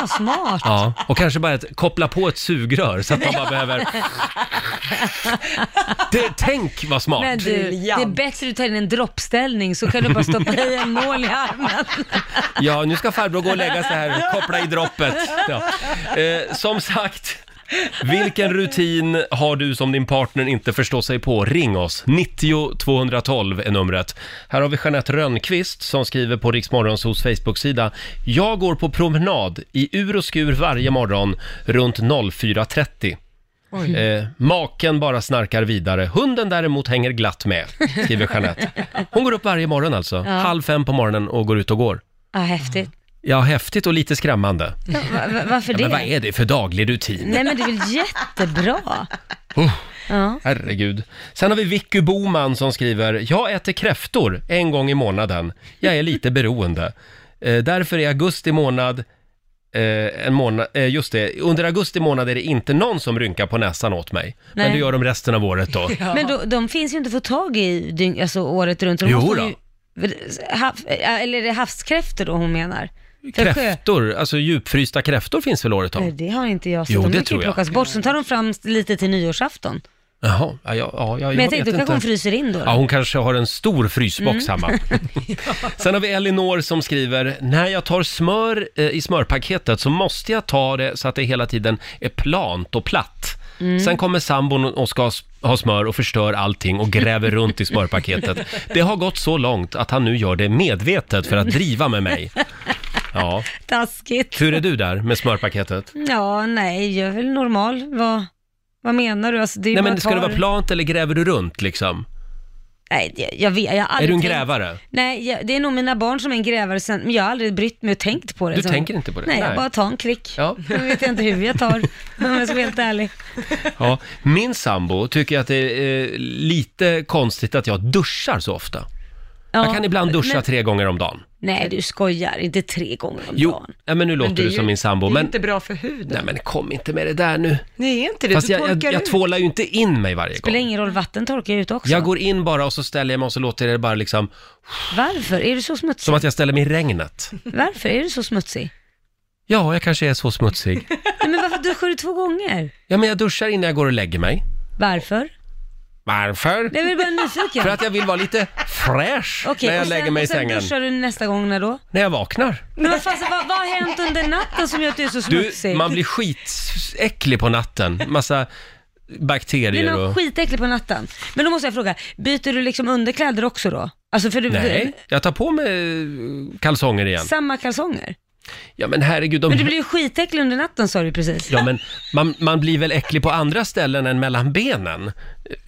B: Ah, smart.
A: Ja, och kanske bara ett, koppla på ett sugrör så att man bara behöver... Det, tänk vad smart!
B: Men du, det är
C: Briljant.
B: bättre att du tar in en droppställning så kan du bara stoppa i en mål i armen.
A: Ja, nu ska farbror gå och lägga sig här, koppla i droppet. Ja. Eh, som sagt, vilken rutin har du som din partner inte förstår sig på? Ring oss, 90 212 är numret. Här har vi Jeanette Rönnqvist som skriver på Riksmorgonsos Facebook-sida. Jag går på promenad i ur och skur varje morgon runt 04.30. Eh, maken bara snarkar vidare. Hunden däremot hänger glatt med, skriver Jeanette. Hon går upp varje morgon alltså, halv fem på morgonen och går ut och går.
B: Ja, häftigt.
A: Ja, häftigt och lite skrämmande.
B: Ja, va, va, varför det?
A: Men vad är det för daglig rutin?
B: Nej men det är väl jättebra?
A: Herregud. Sen har vi Vicky Boman som skriver, jag äter kräftor en gång i månaden. Jag är lite beroende. Eh, därför är augusti månad, eh, en månad eh, just det, under augusti månad är det inte någon som rynkar på näsan åt mig. Men
B: Nej.
A: det gör de resten av året då.
B: Men då, de finns ju inte att få tag i dygn, alltså, året runt. De
A: Jo
B: måste
A: då.
B: ju- Hav, eller är det havskräftor då hon menar? För sjö-
A: Kräftor, alltså djupfrysta kräftor finns väl året om?
B: Nej, Eh, Det har inte jag sett.
A: Jo,
B: de
A: det
B: brukar ju
A: tror jag.
B: plockas bort. Sen tar de fram lite till nyårsafton.
A: Jaha, ja, ja, ja, jag
B: Men jag
A: vet
B: tänkte, då kanske hon
A: inte.
B: fryser in då.
A: Ja, hon kanske har en stor frysbox
B: Mm.
A: hemma. Sen har vi Elinor som skriver, när jag tar smör eh, i smörpaketet så måste jag ta det så att det hela tiden är plant och platt.
J: Mm.
A: Sen kommer sambon och ska s- ha smör och förstör allting och gräver runt i smörpaketet. Det har gått så långt att han nu gör det medvetet för att driva med mig. Ja.
B: Taskigt.
A: Hur är du där med smörpaketet?
B: Ja, nej, jag är väl normal. Vad, vad menar du? Alltså, det är ju
A: Nej
B: bara
A: men ska det
B: kvar.
A: vara plant eller gräver du runt liksom?
B: Nej, det- jag vet. Jag har
A: Är
B: aldrig
A: du en
B: tänkt-
A: grävare?
B: Nej, jag, det är nog mina barn som är en grävare sen, men jag har aldrig brytt mig och tänkt på det.
A: Du
B: Så-
A: tänker inte på det?
B: Nej,
A: Nej.
B: jag bara tar en klick.
A: Ja.
B: Nu vet jag inte hur jag tar, om jag ska vara helt ärlig.
A: Ja, min sambo tycker att det är eh, lite konstigt att jag duschar så ofta.
B: Ja,
A: jag kan ibland duscha
B: men-
A: tre gånger om dagen.
B: Nej, du skojar. Inte tre gånger om
A: Jo,
B: dagen.
A: ja, men nu låter
B: det är
A: du som
B: ju-
A: min sambo.
B: det är
A: Men,
B: inte
C: bra för huden.
A: Nej, men kom inte med det där nu.
C: Nej, är inte det.
A: Fast
C: du
A: jag, jag,
C: torkar
A: jag
C: ut.
A: tvålar ju inte in mig varje
B: Det
A: gång.
B: spelar ingen roll, vatten torkar ju ut också.
A: Jag går in bara och så ställer jag mig och så låter jag det bara liksom,
B: Varför? Är du så smutsig?
A: som att jag ställer mig i regnet.
B: Varför är du så smutsig?
A: Ja, jag kanske är så smutsig.
B: Nej, men varför duschar du två gånger?
A: Ja, men jag duschar innan jag går och lägger mig.
B: Varför?
A: Varför?
B: Nej, men jag är bara nyfiken.
A: För att jag vill vara lite fräsch
B: Okej,
A: när jag
B: och sen,
A: lägger mig i
B: och sen
A: sängen.
B: duschar du nästa gång när då?
A: När jag vaknar.
B: Men vad, fan, så vad, vad har hänt under natten som gör att du är så
A: Du,
B: smutsig?
A: man blir skitäcklig på natten. Massa
B: Det
A: bakterier
B: är
A: och...
B: något skitäckligt på natten. Men då måste jag fråga, byter du liksom underkläder också då? Alltså för du,
A: Nej, jag tar på mig eh, kalsonger igen.
B: samma kalsonger?
A: Ja men herregud, de...
B: Men du blir ju skitäcklig under natten sa du precis.
A: Ja men man, man blir väl äcklig på andra ställen än mellan benen?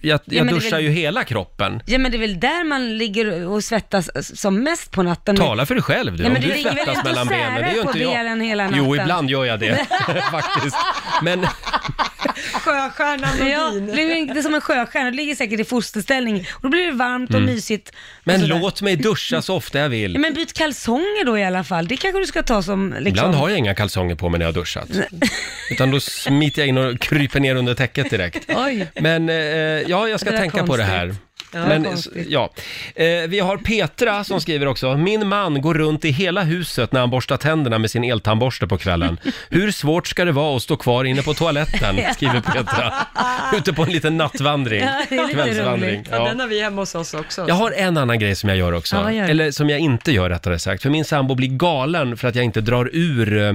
A: Jag,
B: Ja,
A: jag
B: men det är
A: duschar
B: väl-
A: ju hela kroppen.
B: Ja men det är väl där man ligger och svettas som mest på natten?
A: Tala för dig själv du,
B: Ja,
A: om
B: men
A: du
B: det ligger väl inte
A: svettas
B: och
A: mellan
B: särar
A: benen. Det gör
B: på
A: inte jag.
B: benen hela
A: Jo,
B: natten.
A: ibland gör jag det faktiskt. Men
C: Sjöstjärnan
B: Ja, det är väl inte som en sjöstjärna, det ligger säkert i fosterställning. Och då blir det varmt och
A: Mm.
B: mysigt. och
A: Men
B: sådär.
A: låt mig duscha så ofta jag vill.
B: Ja, men byt kalsonger då i alla fall. Det kanske du ska ta som liksom...
A: Ibland har jag inga kalsonger på mig när jag har duschat. Utan då smiter jag in och kryper ner under täcket direkt.
B: Oj.
A: Men eh, ja, jag ska
B: Det där är
A: tänka på det här.
B: konstigt. Ja,
A: Men,
B: konstigt.
A: s- ja. Eh, vi har Petra som skriver också, min man går runt i hela huset när han borstar tänderna med sin eltandborste på kvällen. Hur svårt ska det vara att stå kvar inne på toaletten, skriver Petra. Ute på en liten nattvandring,
C: Ja, det är lite
A: kvällsvandring.
C: roligt. Ja.
A: Ja.
C: Den har vi hemma hos oss också.
A: Jag har en annan grej som jag gör också,
C: Ja, vad gör du?
A: eller som jag inte gör rättare sagt. För min sambo blir galen för att jag inte drar ur eh,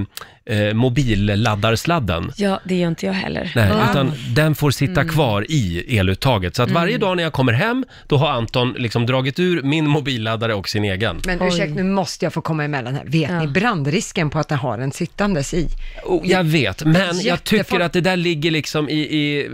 A: eh, mobilladdarsladden.
B: Ja, det gör inte jag heller.
A: Nej,
B: Wow.
A: utan den får sitta
B: Mm.
A: kvar i eluttaget. Så att varje
B: Mm.
A: dag när jag kommer hem, då har Anton liksom dragit ur min mobilladdare och sin egen.
C: Men ursäkta, nu måste jag få komma emellan här. Vet ni brandrisken på att den har den sittandes i?
A: Oh, Jag vet, men jag
C: Jättefar-
A: tycker att det där ligger liksom i, i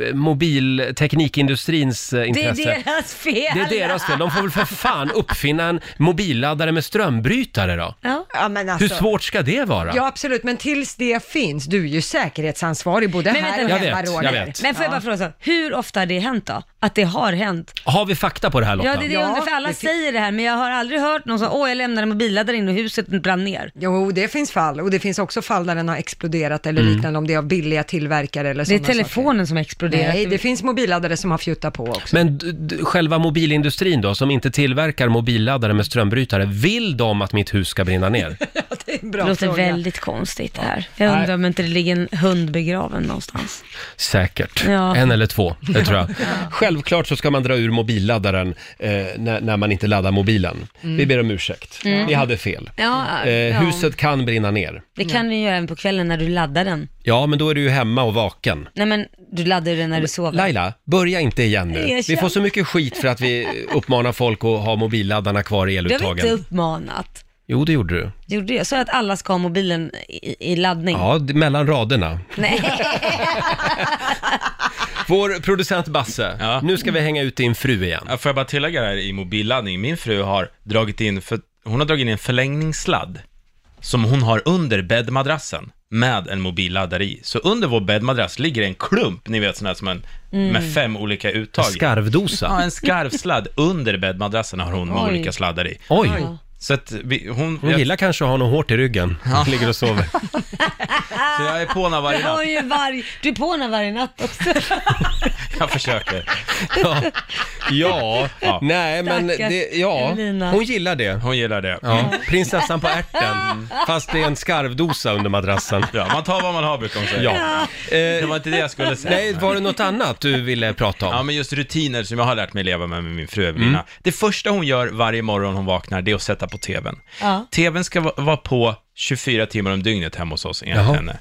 A: mobilteknikindustrins eh,
B: Det
A: intresse.
B: är deras fel.
A: Det är deras fel. De får väl för fan uppfinna en mobilladdare med strömbrytare då.
B: Ja.
C: men alltså,
A: Hur svårt ska det vara?
C: Ja, absolut, men tills det finns, du är ju säkerhetsansvarig både
B: Men
C: här
B: vänta,
C: och
A: Jag
C: hemma,
A: vet, jag
C: Roger.
A: vet.
B: Men får jag bara fråga så, hur ofta har det hänt då? Att det har hänt?
A: Har vi fakta på det här Lotta?
B: Ja, det är det jag undrar, för alla säger det här, men jag har aldrig hört någon som, åh jag lämnade mobilladdaren inne och huset brann ner.
C: Jo, det finns fall och det finns också fall där den har exploderat eller
B: Mm.
C: liknande om det är av billiga tillverkare eller
B: Det är
C: sådana
B: telefonen som exploderar.
C: Nej, det finns mobilladdare som har fjuttat på också.
A: Men d- d- själva mobilindustrin då, som inte tillverkar mobilladdare med strömbrytare, vill de att mitt hus ska brinna ner?
C: det är en
B: Det
C: bra
B: låter
C: fråga.
B: väldigt konstigt det här. Jag
A: Nej.
B: undrar om inte det ligger en hund begraven någonstans.
A: Säkert.
B: Ja.
A: En eller två, det tror jag. Självklart så ska man dra ur mobilladdaren eh, när, när man inte laddar mobilen.
B: Mm.
A: Vi ber om ursäkt.
B: Mm.
A: Vi hade fel.
B: Ja,
A: Eh,
B: ja.
A: huset kan brinna ner.
B: Det kan du göra även på kvällen när du laddar den.
A: Ja, men då är du ju hemma och vaken.
B: Nej men, du laddar ju den när du sover.
A: Laila, börja inte igen nu.
B: Erkänn.
A: Vi får så mycket skit för att vi uppmanar folk att ha mobilladdarna kvar i
B: Du har väl inte
A: eluttagen.
B: uppmanat?
A: Jo, det gjorde du.
B: Gjorde jag? Sa jag att alla ska ha mobilen i, i laddning?
A: Ja, d- mellan raderna.
B: Nej.
A: Vår producent Basse, nu ska vi hänga ut din fru igen.
E: Ja, får jag bara tillägga det här i mobilladdning? Min fru har dragit in, för, hon har dragit in en förlängningssladd som hon har under bäddmadrassen med en mobilladdare i. Så under vår bäddmadrass ligger en klump, ni vet sån här som en,
A: Mm.
E: med fem olika uttag.
A: En skarvdosa?
E: Ja, en skarvsladd under bäddmadrassen har hon med
A: Oj.
E: olika sladdar i.
A: Oj.
E: Så att vi, hon...
A: Hon
E: jag,
A: gillar kanske att ha något hårt i ryggen. Hon ligger och sover.
E: Så jag är på henne
B: Du
E: varje
B: har
E: natt.
B: ju varje, du är på henne varje natt också.
E: Jag försöker.
A: Ja,
E: Ja.
A: nej men
B: Stackars
A: det, ja,
B: Evelina.
A: hon gillar det.
E: Hon gillar det.
A: Ja. Prinsessan på ärten, fast det är en skarvdosa under madrassen.
E: Mm. Ja, man tar vad man har brukar hon säga.
A: Ja.
E: Det
A: Eh,
E: var inte det jag skulle säga.
A: nej, var det något annat du ville prata
E: Ja,
A: om? Mm.
E: men just rutiner som jag har lärt mig leva med med min fru Evelina. Det första hon gör varje morgon hon vaknar, det är att sätta på TVn.
B: Ja.
E: TVn ska va- vara på 24 timmar om dygnet hemma hos oss, enligt
A: Jaha.
E: henne.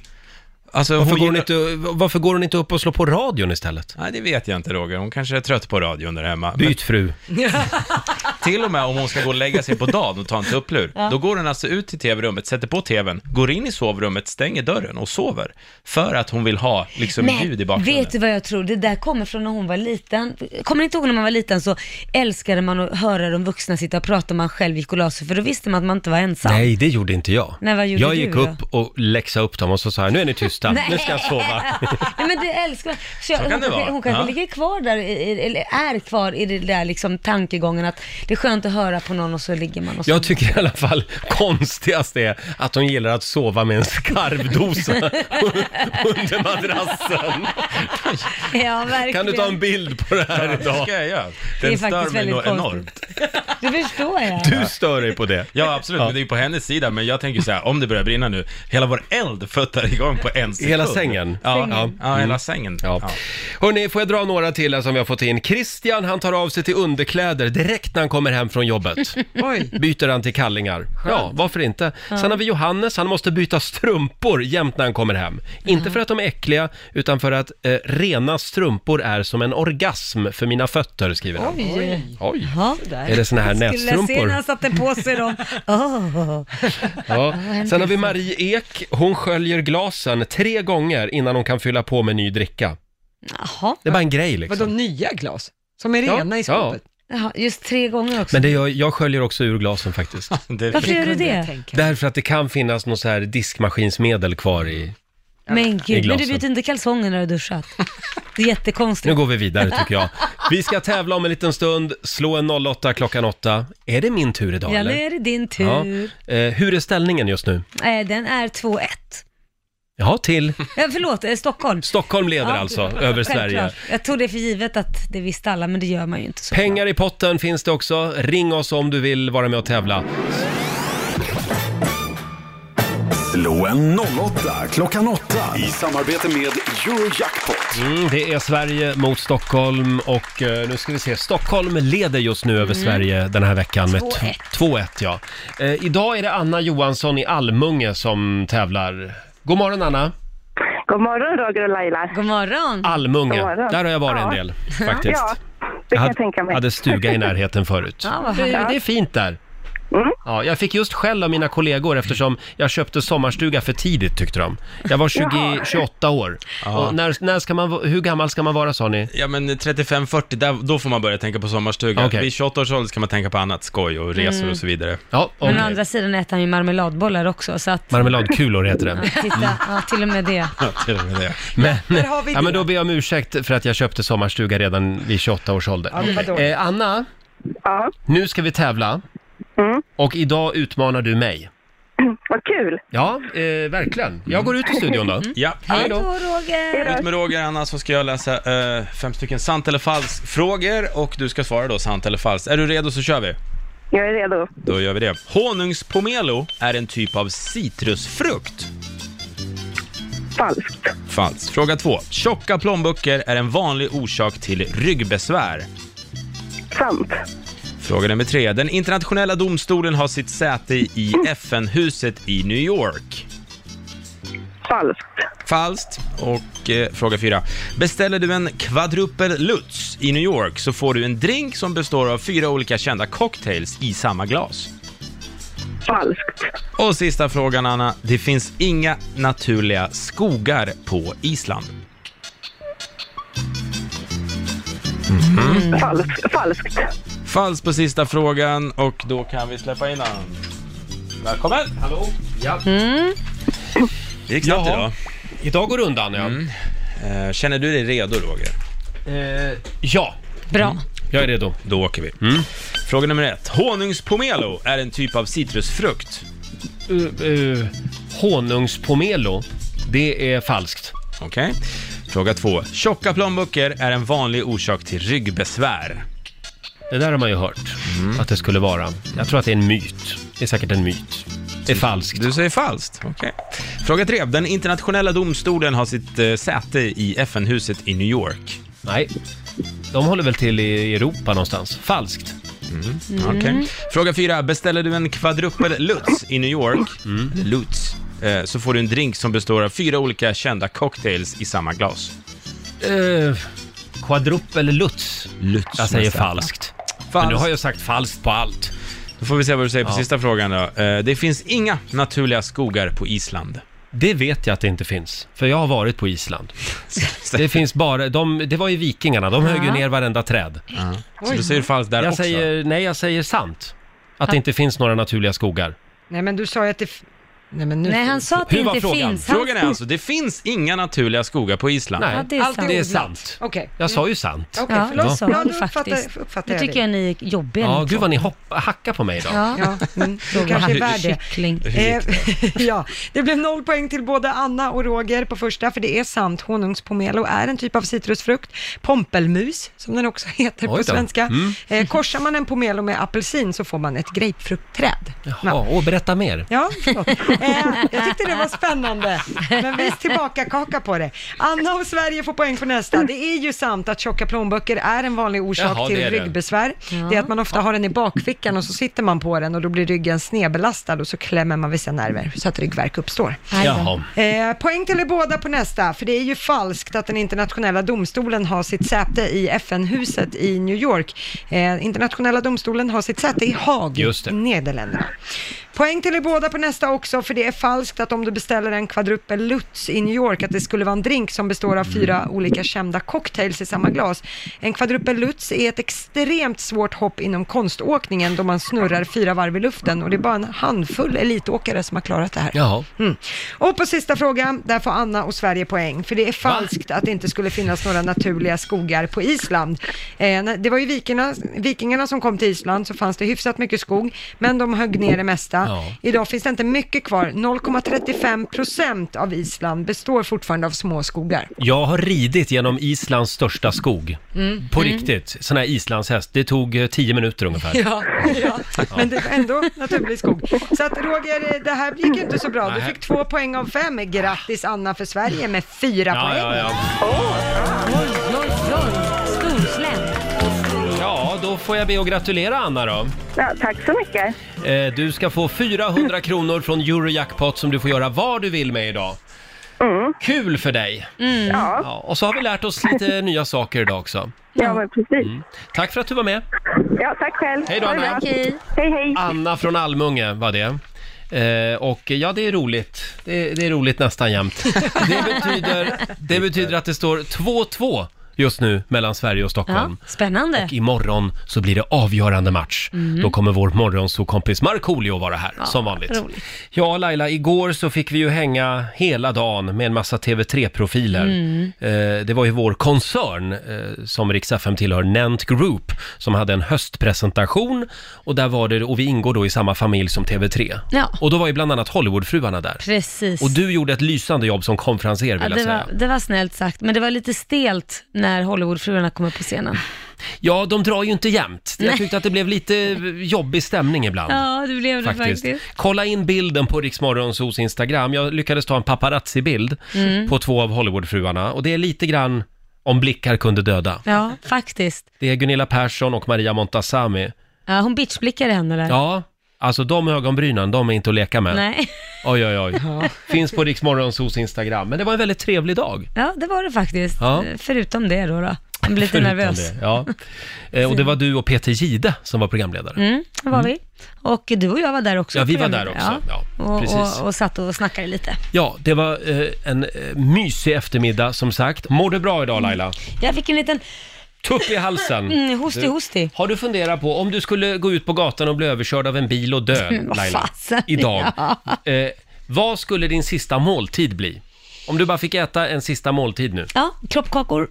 E: Alltså,
A: Varför går, hon
E: gillar-
A: inte, varför går hon inte upp och slår på radion istället?
E: Nej, det vet jag inte Roger. Hon kanske är trött på radion där hemma. Men
A: Byt fru.
E: till och med om hon ska gå och lägga sig på dagen och ta en tupplur, då går hon alltså ut till tv-rummet, sätter på tvn, går in i sovrummet, stänger dörren och sover. För att hon vill ha liksom ljud i
B: Men
E: bakgrunden.
B: vet du vad jag tror? Det där kommer från när hon var liten. Kommer ni inte ihåg när man var liten så älskade man att höra de vuxna sitta och prata om man själv gick och la sig, för då visste man att man inte var ensam.
A: Nej, det gjorde inte jag.
B: Nej, vad gjorde
A: jag
B: du
A: gick
B: då?
A: upp och läxade upp dem och så sa jag, nu är ni tysta,
B: Nej.
A: nu ska jag sova.
B: Nej men det älskar så jag,
E: kan
B: hon,
E: det
B: kanske-
E: vara.
B: hon kanske
E: Ja.
B: ligger kvar där, i- i- eller är kvar i det där liksom tankegången att det är skönt att höra på någon och så ligger man och så.
A: Jag tycker i alla fall konstigast är att hon gillar att sova med en skarvdosa under madrassen.
B: ja, verkligen.
A: Kan du ta en bild på det här
E: Det
A: idag?
E: ska jag göra.
B: Det är
E: Den stör
B: faktiskt
E: mig
B: väldigt
E: nog
B: konstigt.
E: enormt.
B: Det förstår jag.
A: Du stör dig på det.
E: Ja, absolut, men det är på hennes sida. Men jag tänker så här, om det börjar brinna nu, hela vår eld föttar igång på en sekund.
A: Hela sängen.
E: Ja,
A: Sängen.
E: ja, ja hela sängen.
A: Ja.
E: Mm. Ja.
A: Hörrni, får jag dra några till här som vi har fått in? Christian, han tar av sig till underkläder direkt när han kommer hem från jobbet.
C: Oj.
A: Byter han till kallingar. Ja, varför inte? Sen har vi Johannes, han måste byta strumpor jämt när han kommer hem. Inte för att de är äckliga, utan för att eh, rena strumpor är som en orgasm för mina fötter, skriver han.
B: Oj.
A: Oj.
B: Ja.
A: Är det såna här
B: Skulle jag se
A: nässtrumpor?
B: när han satte på sig dem. Åh.
A: Ja. Sen har vi Marie Ek, hon sköljer glasen tre gånger innan hon kan fylla på med ny dricka.
B: Jaha.
A: Det är bara en grej liksom.
C: Vadå nya glas? Som är rena i
A: ja.
C: skåpet?
B: Jaha, just tre gånger också.
A: Men det gör, jag sköljer också ur glasen faktiskt.
E: Det,
B: Varför gör du
C: kunde jag
B: det?
C: tänka.
A: Därför att det kan finnas något så här diskmaskinsmedel kvar i...
B: Men gud, men du
A: glasen.
B: byter inte kalsonger när du har duschat. Det är
A: Nu
B: jättekonstigt.
A: går vi vidare tycker jag. Vi ska tävla om en liten stund, slå en 08 klockan 8. Är det min tur idag
B: Ja, nu
A: eller?
B: är det din tur.
A: Eh, hur är ställningen just nu?
B: Nej, Den är 2-1.
A: Ja, till
B: Ja, förlåt, eh, Stockholm.
A: Stockholm leder
B: Ja,
A: alltså över Sverige.
B: Självklart. Jag tog det för givet att det visste alla, men det gör man ju inte så.
A: Pengar i potten finns det också. Ring oss om du vill vara med och tävla.
D: Slå en 08 klockan 8 i samarbete med Eurojackpot.
A: Mm, det är Sverige mot Stockholm och eh, nu ska vi se. Stockholm leder just nu
B: Mm.
A: över Sverige den här veckan med
B: 2-1.
A: 2-1. Ja. Eh, idag är det Anna Johansson i Almunge som tävlar. God morgon Anna!
J: God morgon Roger och Laila.
B: God morgon!
A: Almunge,
J: God morgon.
A: där har jag varit
J: Ja.
A: en del faktiskt.
J: Ja, det
A: Jag
J: kan
A: hade,
J: jag tänka mig.
A: hade stuga i närheten förut.
B: Ja, vad
A: det,
B: härligt.
A: det är fint där.
J: Mm.
A: Ja, jag fick just skäll av mina kollegor eftersom jag köpte sommarstuga för tidigt tyckte de. Jag var 20,
J: Jaha.
A: 28 år. Och när, när ska man, v- hur gammal ska man vara sa ni?
E: ja, men 35-40, där, då får man börja tänka på sommarstuga.
A: Okej.
E: Vid 28 års ålder ska man tänka på annat skoj och resor och så vidare.
A: Ja,
B: Men
A: okej.
B: å andra sidan äter han ju marmeladbollar också, så att...
A: Marmeladkulor heter det.
B: Ja, titta, ja, till och med det.
E: Ja, till och med det.
A: Men,
C: Där har vi
A: ja,
C: det.
A: men då ber jag om ursäkt för att jag köpte sommarstuga redan vid 28 års ålder.
C: Ja, det var dåligt.
A: Eh, Anna,
J: Ja, Mm.
A: nu ska vi tävla. Och idag utmanar du mig.
J: vad kul.
A: Ja, eh, verkligen. Jag går ut i studion
C: Mm.
A: då.
E: Ja.
B: Hej då Roger!
E: Ut med Roger, Anna, så ska jag läsa eh, fem stycken sant eller falskt frågor och du ska svara då sant eller falskt. Är du redo så kör vi.
J: Jag är redo.
E: Då gör vi det. Honungspomelo är en typ av citrusfrukt.
J: Falskt.
E: Falskt. Fråga två. Tjocka plånböcker är en vanlig orsak till ryggbesvär.
J: Sant.
E: Fråga nummer tre. Den internationella domstolen har sitt säte i FN-huset i New York.
J: Falskt.
E: Falskt. Och eh, fråga fyra. Beställer du en quadrupel Lutz i New York så får du en drink som består av fyra olika kända cocktails i samma glas.
J: Falskt.
E: Och sista frågan, Anna. Det finns inga naturliga skogar på Island.
J: Mm-hmm. Falskt. Falskt.
E: Falskt på sista frågan och då kan vi släppa in Anna. Välkommen! Hallå! Ja.
C: Mm.
E: Det gick snabbt
A: Jaha.
E: idag.
A: Idag går det undan, ja.
C: Mm.
E: Eh, Känner du dig redo, Roger?
A: Eh, ja,
B: Bra.
A: jag är redo. Mm.
E: Då åker vi. Fråga nummer ett. Honungspomelo är en typ av citrusfrukt.
C: Eh,
A: Uh, uh, honungspomelo, det är falskt.
E: Okej. Fråga två. Tjocka plånböcker är en vanlig orsak till ryggbesvär.
A: Det där har man ju hört
C: Mm.
A: att det skulle vara. Jag tror att det är en myt. Det är säkert en myt. Det är falskt.
E: Du säger falskt. Okej. Fråga tre. Den internationella domstolen har sitt eh, säte i FN-huset i New York.
A: Nej, de håller väl till i Europa någonstans. Falskt.
E: Okej. Fråga fyra. Beställer du en kvadrupel Lutz i New York,
A: Mm.
E: eller Lutz, eh, så får du en drink som består av fyra olika kända cocktails i samma glas.
A: Uh, quadrupel Lutz.
E: Lutz.
A: Jag säger falskt. Men nu har jag sagt falskt på allt.
E: Då får vi se vad du säger på
A: Ja.
E: sista frågan då. Eh, Det finns inga naturliga skogar på Island.
A: Det vet jag att det inte finns, för jag har varit på Island. Det finns bara, de, det var ju vikingarna, de högg ju ner varenda träd.
E: Så du säger falskt där
A: Jag
E: också?
A: säger, nej jag säger sant. Att det inte finns några naturliga skogar.
C: Nej, men du sa ju att det... f- Nej, men nu...
B: Nej, han sa att det
A: Hur var
B: inte
A: frågan?
B: finns. Han...
E: Frågan är alltså, det finns inga naturliga skogar på Island?
A: Nej,
B: Ja, det är sant.
A: det är sant.
C: Okej.
A: Jag sa ju sant.
C: Okej,
B: Ja,
C: förlåt.
B: det sa
C: Ja,
B: han
C: då uppfattar-
B: faktiskt.
C: uppfattar
B: Nu
C: jag
B: tycker
C: dig.
B: jag ni är jobbiga.
A: Ja,
B: ni
A: gud
B: två.
A: vad ni hoppa, hackar på mig idag.
B: Ja,
C: Ja, mm, du kanske är värd det.
B: kyckling.
C: Eh, ja, det blev noll poäng till både Anna och Roger på första, för det är sant. Honungspomelo är en typ av citrusfrukt. Pompelmus, som den också heter
A: Oj
C: på
A: då.
C: svenska. Eh, korsar man en pomelo med apelsin så får man ett grapefruktträd.
A: Jaha, och berätta mer.
C: Ja, förlåt. eh, jag tyckte det var spännande. Men visst tillbaka kaka på det. Anna och Sverige får poäng på nästa. Det är ju sant att tjocka plånböcker är en vanlig orsak
A: Jaha,
C: till
A: det är det.
C: ryggbesvär. Det är att man ofta har den i bakfickan och så sitter man på den och då blir ryggen snedbelastad och så klämmer man vissa nerver så att ryggvärk uppstår.
B: Aj då.
A: Jaha.
C: Eh, poäng till er båda på nästa, för det är ju falskt att den internationella domstolen har sitt säte i FN-huset i New York. Eh, internationella domstolen har sitt säte i Haag
A: Just det.
C: i Nederländerna. Poäng till er båda på nästa också, för det är falskt att om du beställer en kvadrupel Lutz i New York, att det skulle vara en drink som består av
A: Mm.
C: fyra olika kända cocktails i samma glas. En kvadrupel Lutz är ett extremt svårt hopp inom konståkningen då man snurrar fyra varv i luften och det är bara en handfull elitåkare som har klarat det här.
A: Jaha.
C: Mm. Och på sista frågan, där får Anna och Sverige poäng, för det är falskt att det inte skulle finnas några naturliga skogar på Island. Eh, när- det var ju vikingarna, vikingarna som kom till Island, så fanns det hyfsat mycket skog, men de högg ner det mesta.
A: Ja.
C: Idag finns det inte mycket kvar, 0,35 procent av Island består fortfarande av små skogar.
A: Jag har ridit genom Islands största skog. På riktigt, sån här islandshäst. Det tog eh, tio minuter ungefär.
C: Ja, ja. men det var ändå naturlig skog. Så att Roger, eh, det här gick ju inte så bra. Du
A: Nej.
C: fick två poäng av fem. Grattis Anna för Sverige med fyra
A: Ja,
C: poäng.
A: ja, ja.
B: Oj, oj, oj. Storsläng.
A: ja, då får jag be och gratulera Anna då.
J: Ja, tack så mycket.
A: Eh, Du ska få 400 kronor från Eurojackpot som du får göra vad du vill med idag. Kul för dig!
J: Mm. Ja,
A: Ja, och så har vi lärt oss lite nya saker idag också. Mm.
J: ja men precis.
A: Tack för att du var med!
J: Ja, tack själv.
A: Hej då,
J: Ha det
A: Anna.
J: bra.
B: Okej.
J: Hej, hej.
A: Anna från Almunge var det. Eh, och ja, det är roligt. Det är, det är roligt nästan jämt. Det betyder, det betyder att det står 2-2 just nu mellan Sverige och
B: Ja,
A: Stockholm.
B: spännande.
A: Och imorgon så blir det avgörande match.
B: Mhm.
A: Då kommer vår morgonsokompis Markoolio vara här, som vanligt.
B: roligt.
A: Ja, Laila, igår så fick vi ju hänga hela dagen med en massa TV3-profiler.
B: Mm.
A: Eh, det var ju vår koncern, eh, som Rix FM tillhör, Nent Group, som hade en höstpresentation. Och där var det, och vi ingår då i samma familj som TV3.
B: Ja.
A: Och då var ju bland annat Hollywoodfruarna där.
B: Precis.
A: Och du gjorde ett lysande jobb som konferenser, vill
B: Ja,
A: jag
B: det,
A: säga.
B: var, det var snällt sagt, men det var lite stelt när Hollywoodfruarna kom upp på scenen.
A: Ja, de drar ju inte jämnt. Jag tyckte att det blev lite jobbig stämning ibland.
B: Ja, det blev det
A: faktiskt.
B: faktiskt.
A: Kolla in bilden på Riksmorgonsos Instagram. Jag lyckades ta en paparazzi-bild
B: Mm.
A: på två av Hollywoodfruarna och det är lite grann om blickar kunde döda.
B: Ja, faktiskt.
A: Det är Gunilla Persson och Maria Montazami.
B: Ja, hon bitchblickade henne där.
A: Ja, alltså de ögonbrynen, de är inte att leka med.
B: Nej.
A: Oj, oj, oj. Finns på Riksmorgonsos Instagram. Men det var en väldigt trevlig dag.
B: Ja, det var det faktiskt.
A: Ja.
B: Eh, Förutom det då. då. Jag blev lite
A: förutom
B: nervös.
A: det, Ja. Eh, Och det var du och Peter Gide som var programledare.
B: Mm, det var vi. Och du och jag var där också.
A: Ja, vi var
B: Programmet.
A: där också. Ja, precis.
B: och, och, och satt och snackade lite.
A: Ja, det var eh, en eh, mysig eftermiddag som sagt. Mår du bra idag Laila?
B: Jag fick en liten
A: Tupp i halsen.
B: mm, hosti hosti.
A: Har du funderat på om du skulle gå ut på gatan och bli överkörd av en bil och dö,
B: vad
A: Laila,
B: fasen,
A: idag?
B: ja.
A: Eh, vad skulle din sista måltid bli? Om du bara fick äta en sista måltid nu?
B: Ja, kroppkakor.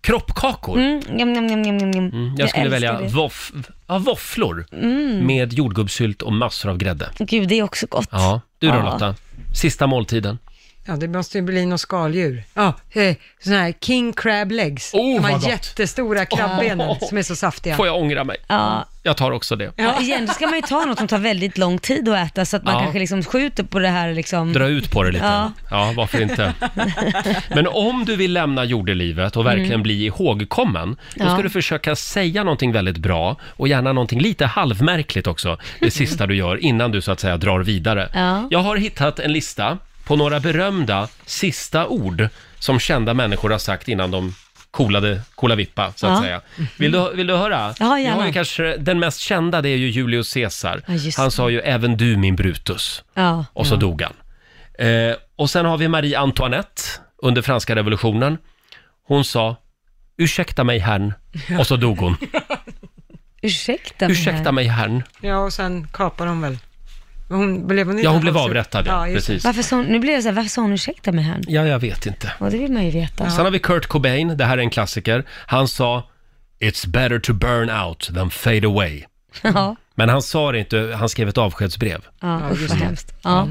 A: Kroppkakor?
B: Mm, njam, njam, njam, njam, njam.
A: Mm, jag,
B: Jag
A: skulle
B: älskar
A: välja
B: det.
A: voff, ja, våfflor
B: Mm.
A: med jordgubbssylt och massor av grädde.
B: Gud, det är också gott.
A: Ja, du då
B: Ja.
A: Lotta? Sista måltiden.
C: Ja, det måste ju bli något skaldjur. Ja, eh, sådana här king crab legs.
A: Oh,
C: De
A: vad
C: här
A: gott.
C: jättestora krabbenen
A: Åh.
C: som är så saftiga.
A: Får jag ångra mig?
B: Ja.
A: Jag tar också det.
B: Ja, igen, då ska man ju ta något som tar väldigt lång tid att äta så att man
A: Ja.
B: kanske liksom skjuter på det här liksom.
A: Dra ut på det lite. Ja.
B: Ja.
A: varför inte? Men om du vill lämna jordelivet och verkligen
B: Mm.
A: bli ihågkommen, då ska
B: Ja.
A: du försöka säga någonting väldigt bra och gärna någonting lite halvmärkligt också, det sista du gör innan du så att säga drar vidare.
B: Ja.
A: Jag har hittat en lista på några berömda sista ord som kända människor har sagt innan de kolade kolavippa, så att
B: Ja.
A: säga. Vill du, vill du höra?
B: Ja,
A: Jag har ju
B: gärna.
A: kanske, den mest kända det är ju Julius Caesar.
B: Ja, just
A: Han
B: det.
A: sa ju “Även du min Brutus”
B: Ja.
A: och så
B: ja.
A: dog han. Eh, och sen har vi Marie Antoinette under franska revolutionen. Hon sa “Ursäkta mig herrn” och så dog hon.
B: Ursäkta mig.
A: “Ursäkta mig herrn”.
C: Ja, och sen kapar de väl. Hon blev hon,
A: Ja, hon blev avrättad, ja.
C: just det.
A: Precis.
B: Varför sa hon, nu blev jag så här, varför sa hon ursäkta mig här?
A: Ja, jag vet inte.
B: Ja, det vill man ju veta.
A: Sen har vi Kurt Cobain, det här är en klassiker. Han sa “It's better to burn out than fade away”.
B: Ja,
A: Men han sa det inte, han skrev ett avskedsbrev.
B: ja, usch
C: just
B: vad
C: det.
B: hemskt. Ja.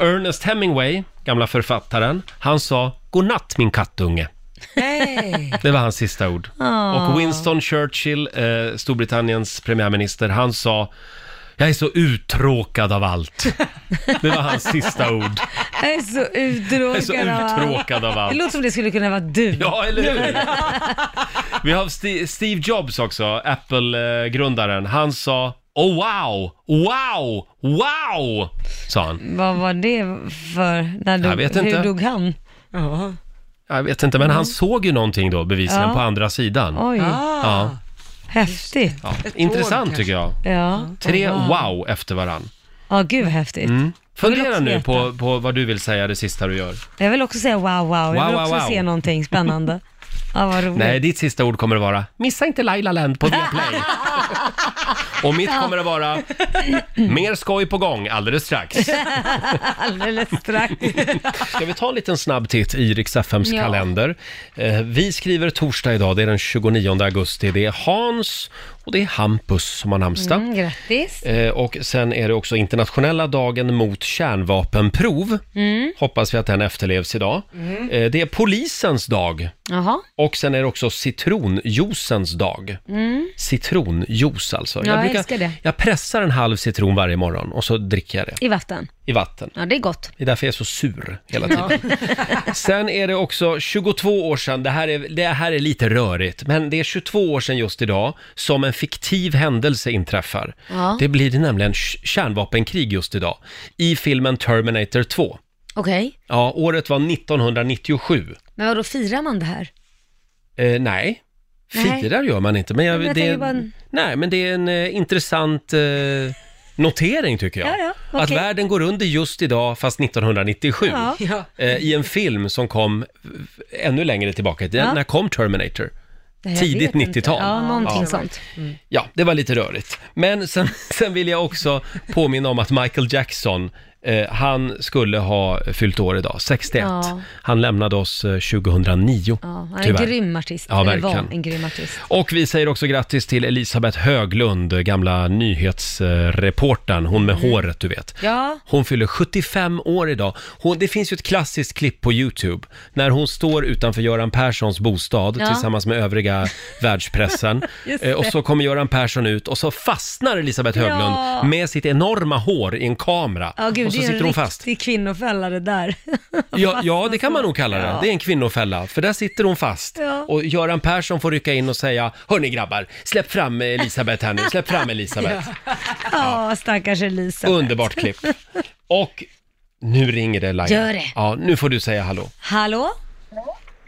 A: Ernest Hemingway, gamla författaren, han sa “Godnatt min kattunge”.
C: Nej.
A: Det var hans sista ord.
B: Ja.
A: Och Winston Churchill, eh, Storbritanniens premiärminister, han sa jag är så uttråkad av allt. Det var hans sista ord.
B: Jag är så
A: Jag är så
B: uttråkad. av allt.
A: uttråkad av
B: Det
A: allt.
B: låter som det skulle kunna vara du.
A: Ja, eller hur? Vi har Sti- Steve Jobs också, Apple-grundaren. Han sa Oh wow, wow, wow, sa han.
B: Vad var det för, när dog,
A: Jag vet inte.
B: hur dog han?
C: Ja.
A: Jag vet inte, men han såg ju någonting då bevisligen
B: Mm. Ja.
A: på andra sidan.
B: Oj,
C: Ah.
A: Ja,
B: häftigt.
A: ja.
C: Ett tåg
A: Intressant
C: kanske.
A: tycker jag.
B: Ja.
A: Tre
B: Ja.
A: wow efter varann.
B: Ja, gud vad häftigt. Jag
A: Fundera
B: vill också
A: nu
B: veta. Mm.
A: på, på vad du vill säga det sista du gör.
B: Jag vill också säga wow, wow. Jag vill
A: Wow, wow,
B: också
A: wow.
B: se någonting spännande. Ja, vad roligt.
A: Nej, ditt sista ord kommer att vara “Missa inte Laila Land på Viaplay”. Och mitt kommer att vara “Mer skoj på gång alldeles strax”.
B: Alldeles strax.
A: Ska vi ta en liten snabb titt i Rix FMs
B: Ja.
A: kalender? Eh, Vi skriver torsdag idag, det är den 29 augusti. Det är Hans och det är Hampus som har namnsdag.
B: Mm, grattis.
A: Eh, Och sen är det också internationella dagen mot kärnvapenprov.
B: Mm.
A: Hoppas vi att den efterlevs idag. Eh, Det är polisens dag.
B: Jaha.
A: Och sen är det också citronjuicens dag. Citronjuice alltså.
B: Mm. Ja, jag älskar det.
A: jag pressar en halv citron varje morgon och så dricker jag det
B: I vatten.
A: i vatten.
B: Ja, det är gott.
A: Det är därför jag är så sur hela tiden. Sen är det också 22 år sedan, det här, är, det här är lite rörigt, men det är 22 år sedan just idag som en fiktiv händelse inträffar.
B: Ja.
A: Det blir nämligen k- kärnvapenkrig just idag i filmen Terminator 2.
B: Okej.
A: Ja, året var 1997.
B: Men vad då firar man det här?
A: Eh, nej.
B: Nej.
A: Firar gör man inte, men, jag,
B: Men jag
A: det, är,
B: tänker bara en-
A: nej, men det är en eh, intressant eh, notering tycker jag.
B: Ja, ja, okej.
A: Att världen går under just idag, fast 1997.
B: Ja.
C: Ja.
A: Eh, I en film som kom eh, ännu längre tillbaka.
B: Ja.
A: När kom Terminator?
B: Det här
A: Tidigt
B: vet jag
A: 90-tal.
B: inte. Ja, någonting
A: Ja.
B: sånt.
A: Ja, det var lite rörigt. Men sen, sen vill jag också påminna om att Michael Jackson, eh, han skulle ha fyllt år idag, 61.
B: Ja.
A: Han lämnade oss eh, 2009,
B: Ja, han är
A: tyvärr.
B: en grym artist.
A: Ja,
B: Eller
A: verkligen.
B: var en grym artist.
A: Och vi säger också grattis till Elisabeth Höglund, gamla nyhetsreportern, hon med håret du vet.
B: Mm. Ja.
A: Hon fyller 75 år idag. Hon, det finns ju ett klassiskt klipp på Youtube när hon står utanför Göran Perssons bostad
B: Ja.
A: tillsammans med övriga världspressen.
B: Just
A: Eh, Och så kommer Göran Persson ut och så fastnar Elisabeth Höglund
B: Ja.
A: med sitt enorma hår i en kamera.
B: Ja, gud,
A: och så
B: det är
A: sitter
B: en
A: hon fast.
B: riktig kvinnofälla det där.
A: Ja, ja, det kan man nog kalla det.
B: Ja.
A: Det är en kvinnofälla, för där sitter hon fast.
B: Ja.
A: Och Göran Persson får rycka in och säga, hörni grabbar, släpp fram Elisabeth här nu, släpp fram Elisabeth.
B: Ja, stackars Elisa.
A: Underbart klipp. Och nu ringer det Laila.
B: Gör det.
A: Ja, nu får du säga hallå.
B: Hallå?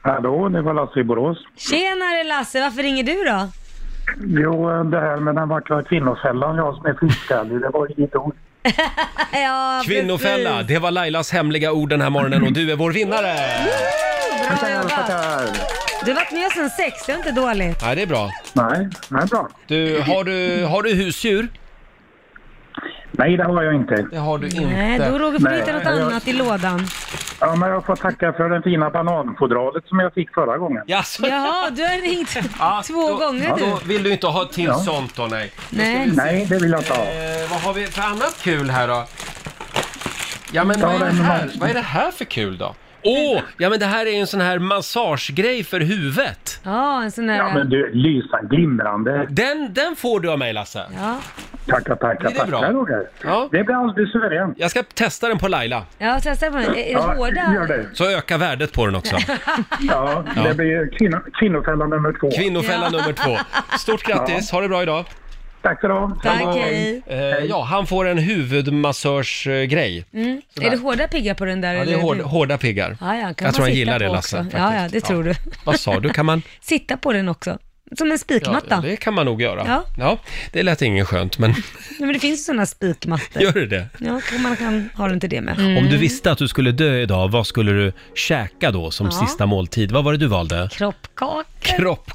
K: Hallå, det var Lasse i Borås.
B: Tjenare Lasse, varför ringer du då?
K: Jo, det här med den vackra kvinnofällan, jag som är flintskallig, det var ju ditt ord.
B: Ja,
A: Kvinnofälla, det var Lailas hemliga ord den här morgonen och du är vår vinnare!
B: precis. Bra jobbat.
K: Tackar!
B: Du har varit med sedan sex, det är inte dåligt.
A: Ja, det är bra.
K: Nej, nej bra.
A: Du, har du, har du husdjur?
K: Nej, det har jag inte. Det
L: har du
A: Mm.
B: Nej, då Roger får du hitta något annat i lådan.
K: Ja, men jag får tacka för den fina bananfodralet som jag fick förra gången.
A: Jaså?
B: Jaha, du har ringt två gånger du.
A: Då vill du inte ha ett till sånt då, nej.
B: Nej.
A: Då ska vi se.
K: Nej, det vill jag inte ha.
A: Eh, vad har vi för annat kul här då? Ja, men
K: Ta
A: vad är, det
K: den
A: här?
K: med-
A: vad är det här för kul då? Åh, ja men det här är ju en sån här massagegrej för huvudet.
B: Ja, en sån
K: Ja, men
B: här...
K: du, lysa glimrande.
A: Den, den får du av mig Lasse.
B: Ja,
K: Tackar, tackar,
A: Blir det bra?
K: tackar Roger.
A: Ja.
K: Det blir alldeles suveränt.
A: Jag ska testa den på Laila,
B: ja testa på den. Är är det
K: Ja,
B: hårda?
K: gör det.
A: så ökar värdet på den också.
K: Ja,
A: Ja.
K: det blir kvinno, kvinnofälla nummer två.
A: Kvinnofälla
B: Ja.
A: nummer två. Stort grattis, ha det bra idag.
K: Tack ska du ha.
B: Tack,
K: Hej då.
B: hej.
A: Eh, ja, han får en huvudmassörsgrej.
B: Mm. Är det hårda piggar på den där?
A: Ja, det är
B: eller?
A: hård, hårda piggar.
B: Ja, ja, kan
A: jag tror
B: man
A: han
B: sitta
A: gillar
B: på
A: det Lasse.
B: också. Ja,
A: faktiskt.
B: ja, det tror du.
A: Vad sa du, kan man?
B: Sitta på den också. Som en
A: Ja,
B: spikmatta.
A: det kan man nog göra. Ja.
B: Ja.
A: det lät inget skönt, men
B: Nej, men det finns ju sådana spikmattor.
A: gör det det?
B: Ja, kan man kan ha den till det med.
A: Om du visste att du skulle dö idag, vad skulle du käka då som
B: Ja.
A: sista måltid? Vad var det du valde?
B: Kroppkakor.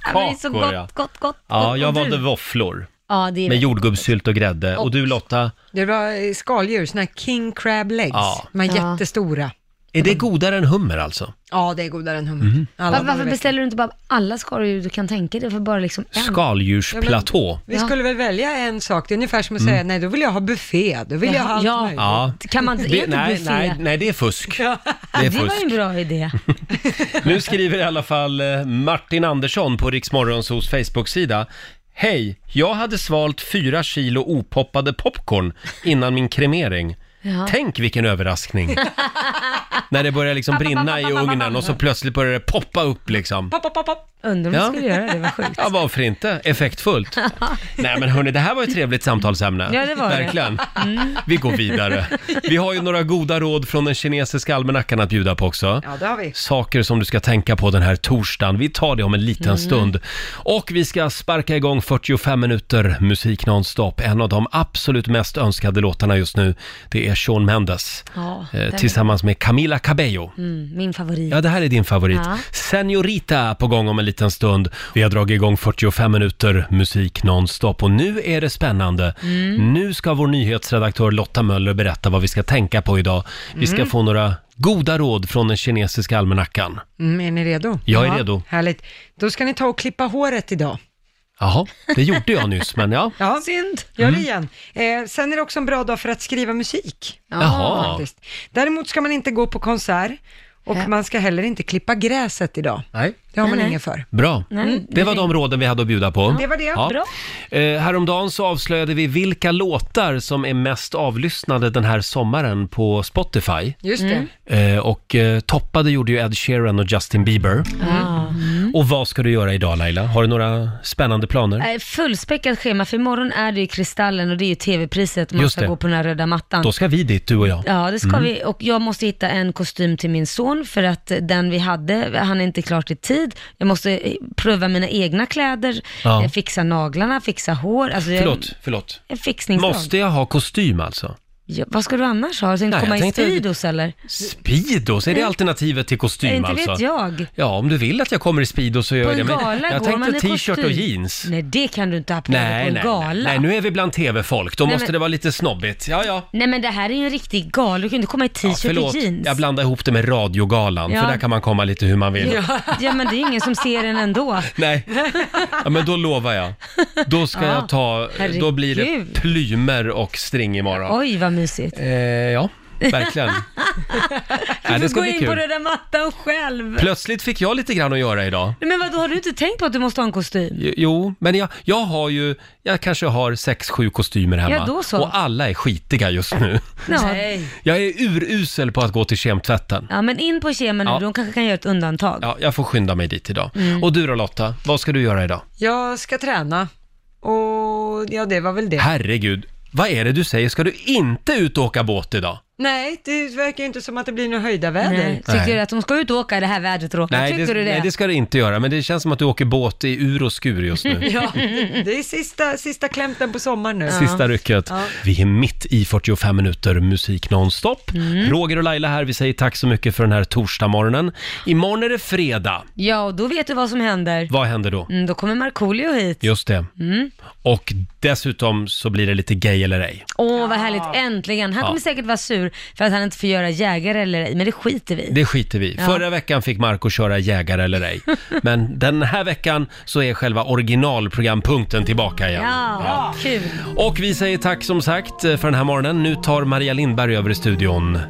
B: Ja, men det är så
A: Kroppkakor,
B: gott,
A: ja.
B: gott, gott, gott.
A: Ja,
B: Och
A: jag
B: du?
A: valde våfflor
B: Ja, det är
A: med jordgubbssylt och grädde. Och du Lotta,
C: Det var eh, skaldjur, såna här king crab legs.
A: Ja.
C: De är
B: Ja.
C: jättestora.
A: är det godare än hummer alltså?
C: Ja, det är godare än hummer.
A: Mhm.
B: Var,
C: Alla dagar i
B: varför
C: veckan.
B: beställer du inte bara alla skaldjur du kan tänka dig för bara liksom en?
A: Skaldjursplatå.
C: Vi
B: Ja.
C: skulle väl välja en sak, det är ungefär som att säga nej då vill jag ha buffé, då vill jag ha allt
B: Ja.
C: möjligt.
A: Mm. Ja.
B: Kan man inte, är
A: Det,
B: inte
A: nej,
B: buffé?
A: nej, nej, det är fusk. Det är
B: det var
A: fusk.
B: ju en bra idé.
A: Nu skriver i alla fall eh, Martin Andersson på Riksmorgonsos Facebook-sida. Hej, jag hade svalt fyra kilo opoppade popcorn innan min kremering.
B: Ja.
A: Tänk vilken överraskning! När det börjar liksom brinna i ugnen och så plötsligt börjar det poppa upp liksom.
C: Pop, pop, pop, pop.
B: Undrar om
A: Ja.
B: du skulle göra det, vad sjukt.
A: Ja, varför inte? Effektfullt. Nej men hörni, det här var ett trevligt samtalsämne.
B: Ja, det Mm. var det.
A: Verkligen. Vi går vidare. Vi har ju några goda råd från den kinesiska almanackan att bjuda på också
C: Ja, det har vi.
A: saker som du ska tänka på den här torsdagen. Vi tar det om en
B: Mm.
A: liten stund. Och vi ska sparka igång 45 minuter musik nonstop. En av de absolut mest önskade låtarna just nu, det är Shawn Mendes.
B: Ja,
A: eh,
B: den-
A: tillsammans med Camila Cabello.
B: Mm, min favorit.
A: Ja, det här är din favorit.
B: Ja.
A: Senorita på gång om en liten stund. Vi har dragit igång 45 minuter musik nonstop och nu är det spännande.
B: Mm.
A: Nu ska vår nyhetsredaktör Lotta Möller berätta vad vi ska tänka på idag. Vi
B: Mm.
A: ska få några goda råd från den kinesiska almanackan.
C: Mm, är ni redo?
A: Jag är redo.
C: Härligt. Då ska ni ta och klippa håret idag.
A: Jaha, det gjorde jag nyss, men ja.
C: Ja. Synd. Gör det igen. Eh, sen är det också en bra dag för att skriva musik.
A: Jaha.
C: Faktiskt. Däremot ska man inte gå på konsert och man ska heller inte klippa gräset idag.
A: Nej.
C: Det har man
B: nej.
C: ingen för.
A: Bra.
B: Nej, Mm.
A: Det var de råden vi hade att bjuda på.
C: Det var det.
B: Bra.
A: Eh, häromdagen så avslöjade vi vilka låtar som är mest avlyssnade den här sommaren på Spotify.
C: Just det.
A: Eh, och eh, toppade gjorde ju Ed Sheeran och Justin Bieber.
B: Ja.
A: Och vad ska du göra idag Laila? Har du några spännande planer?
B: Nej, Eh, Fullspäckat schema, för imorgon är det ju Kristallen och det är ju tv-priset och man
A: Just
B: ska
A: det.
B: gå på den här röda mattan.
A: Då Mm. ska vi dit, du och jag.
B: Ja, det ska vi. Och jag måste hitta en kostym till min son för att eh, den vi hade, han är inte klart i tid. Jag måste eh, pröva mina egna kläder,
A: Ja.
B: eh, fixa naglarna, fixa hår. Alltså, jag-
A: Förlåt, förlåt.
B: En fixningsdag.
A: Måste jag ha kostym alltså?
B: Ja, vad ska du annars ha? Sen
A: Nej,
B: komma
A: jag
B: i
A: tänkte-
B: Speedos eller?
A: Speedos, är det alternativet till kostym
B: Mm.
A: alltså?
B: inte vet jag.
A: Ja, om du vill att jag kommer i speedos så gör
B: På
A: jag det.
B: en
A: Men
B: gala
A: jag
B: går man i
A: tänkte t-shirt
B: kostym.
A: och jeans.
B: Nej, det kan du inte ha på dig på
A: Nej,
B: en
A: nej,
B: gala.
A: nej, nej, nu är vi bland tv-folk. Då
B: Nej,
A: måste
B: men-
A: det vara lite snobbigt. Ja, ja.
B: Nej, men det här är ju en riktig gala. Du kan inte komma i
A: ja
B: t-shirt
A: förlåt,
B: och jeans.
A: jag blandade ihop det med radiogalan,
B: Ja.
A: för där kan man komma lite hur man vill.
B: ja. men det är ju ingen som ser den ändå.
A: Nej, ja, men då lovar jag. Då ska
B: Ja,
A: jag ta, då blir det
B: herregud.
A: plymer och string imorgon.
B: Oj, vad mysigt.
A: Eh, ja, verkligen. Nej, det ska
B: Gå
A: bli
B: in på
A: kul.
B: röda mattan själv.
A: Plötsligt fick jag lite grann att göra idag.
B: Nej, Men vad har du inte tänkt på att du måste ha en kostym?
A: Jo, men jag, jag har ju, jag kanske har sex, sju kostymer hemma.
B: Ja, då så.
A: Och alla är skitiga just nu.
B: Ja,
A: Jag är urusel på att gå till kemtvätten.
B: ja men in på kemen nu,
A: Ja.
B: de kanske kan göra ett undantag.
A: Ja, jag får skynda mig dit idag.
B: Mm.
A: Och du då Lotta, vad ska du göra idag?
C: Jag ska träna och ja, det var väl det.
A: Herregud, vad är det du säger? Ska du inte ut och åka båt idag?
C: Nej, det verkar ju inte som att det blir något höjda väder.
A: Nej. Tycker Nej. du
B: att de ska ut och åka i det här vädret Roger?
A: Nej det, nej, det ska det inte göra, men det känns som att du åker båt i ur och skur just nu.
C: ja, det är sista, sista klämten på sommaren nu.
A: Sista rycket.
C: Ja.
A: Vi är mitt i 45 minuter musik nonstop.
B: Mm.
A: Roger och Laila här, vi säger tack så mycket för den här torsdagsmorgonen. Imorgon är det fredag.
B: Ja, och då vet du vad som händer.
A: Vad händer då?
B: Mm, då kommer Markoolio hit.
A: Just det.
B: Mm.
A: Och dessutom så blir det lite gay eller ej.
B: Åh, vad härligt. Äntligen. Han
A: Ja.
B: kommer säkert vara sur för att han inte får göra jägare eller ej, men det skiter vi i.
A: Det skiter vi i.
B: Ja.
A: Förra veckan fick Marco köra jägare eller ej. Men den här veckan så är själva originalprogrampunkten tillbaka igen.
B: Ja, kul.
A: Och vi säger tack som sagt för den här morgonen. Nu tar Maria Lindberg över i studion.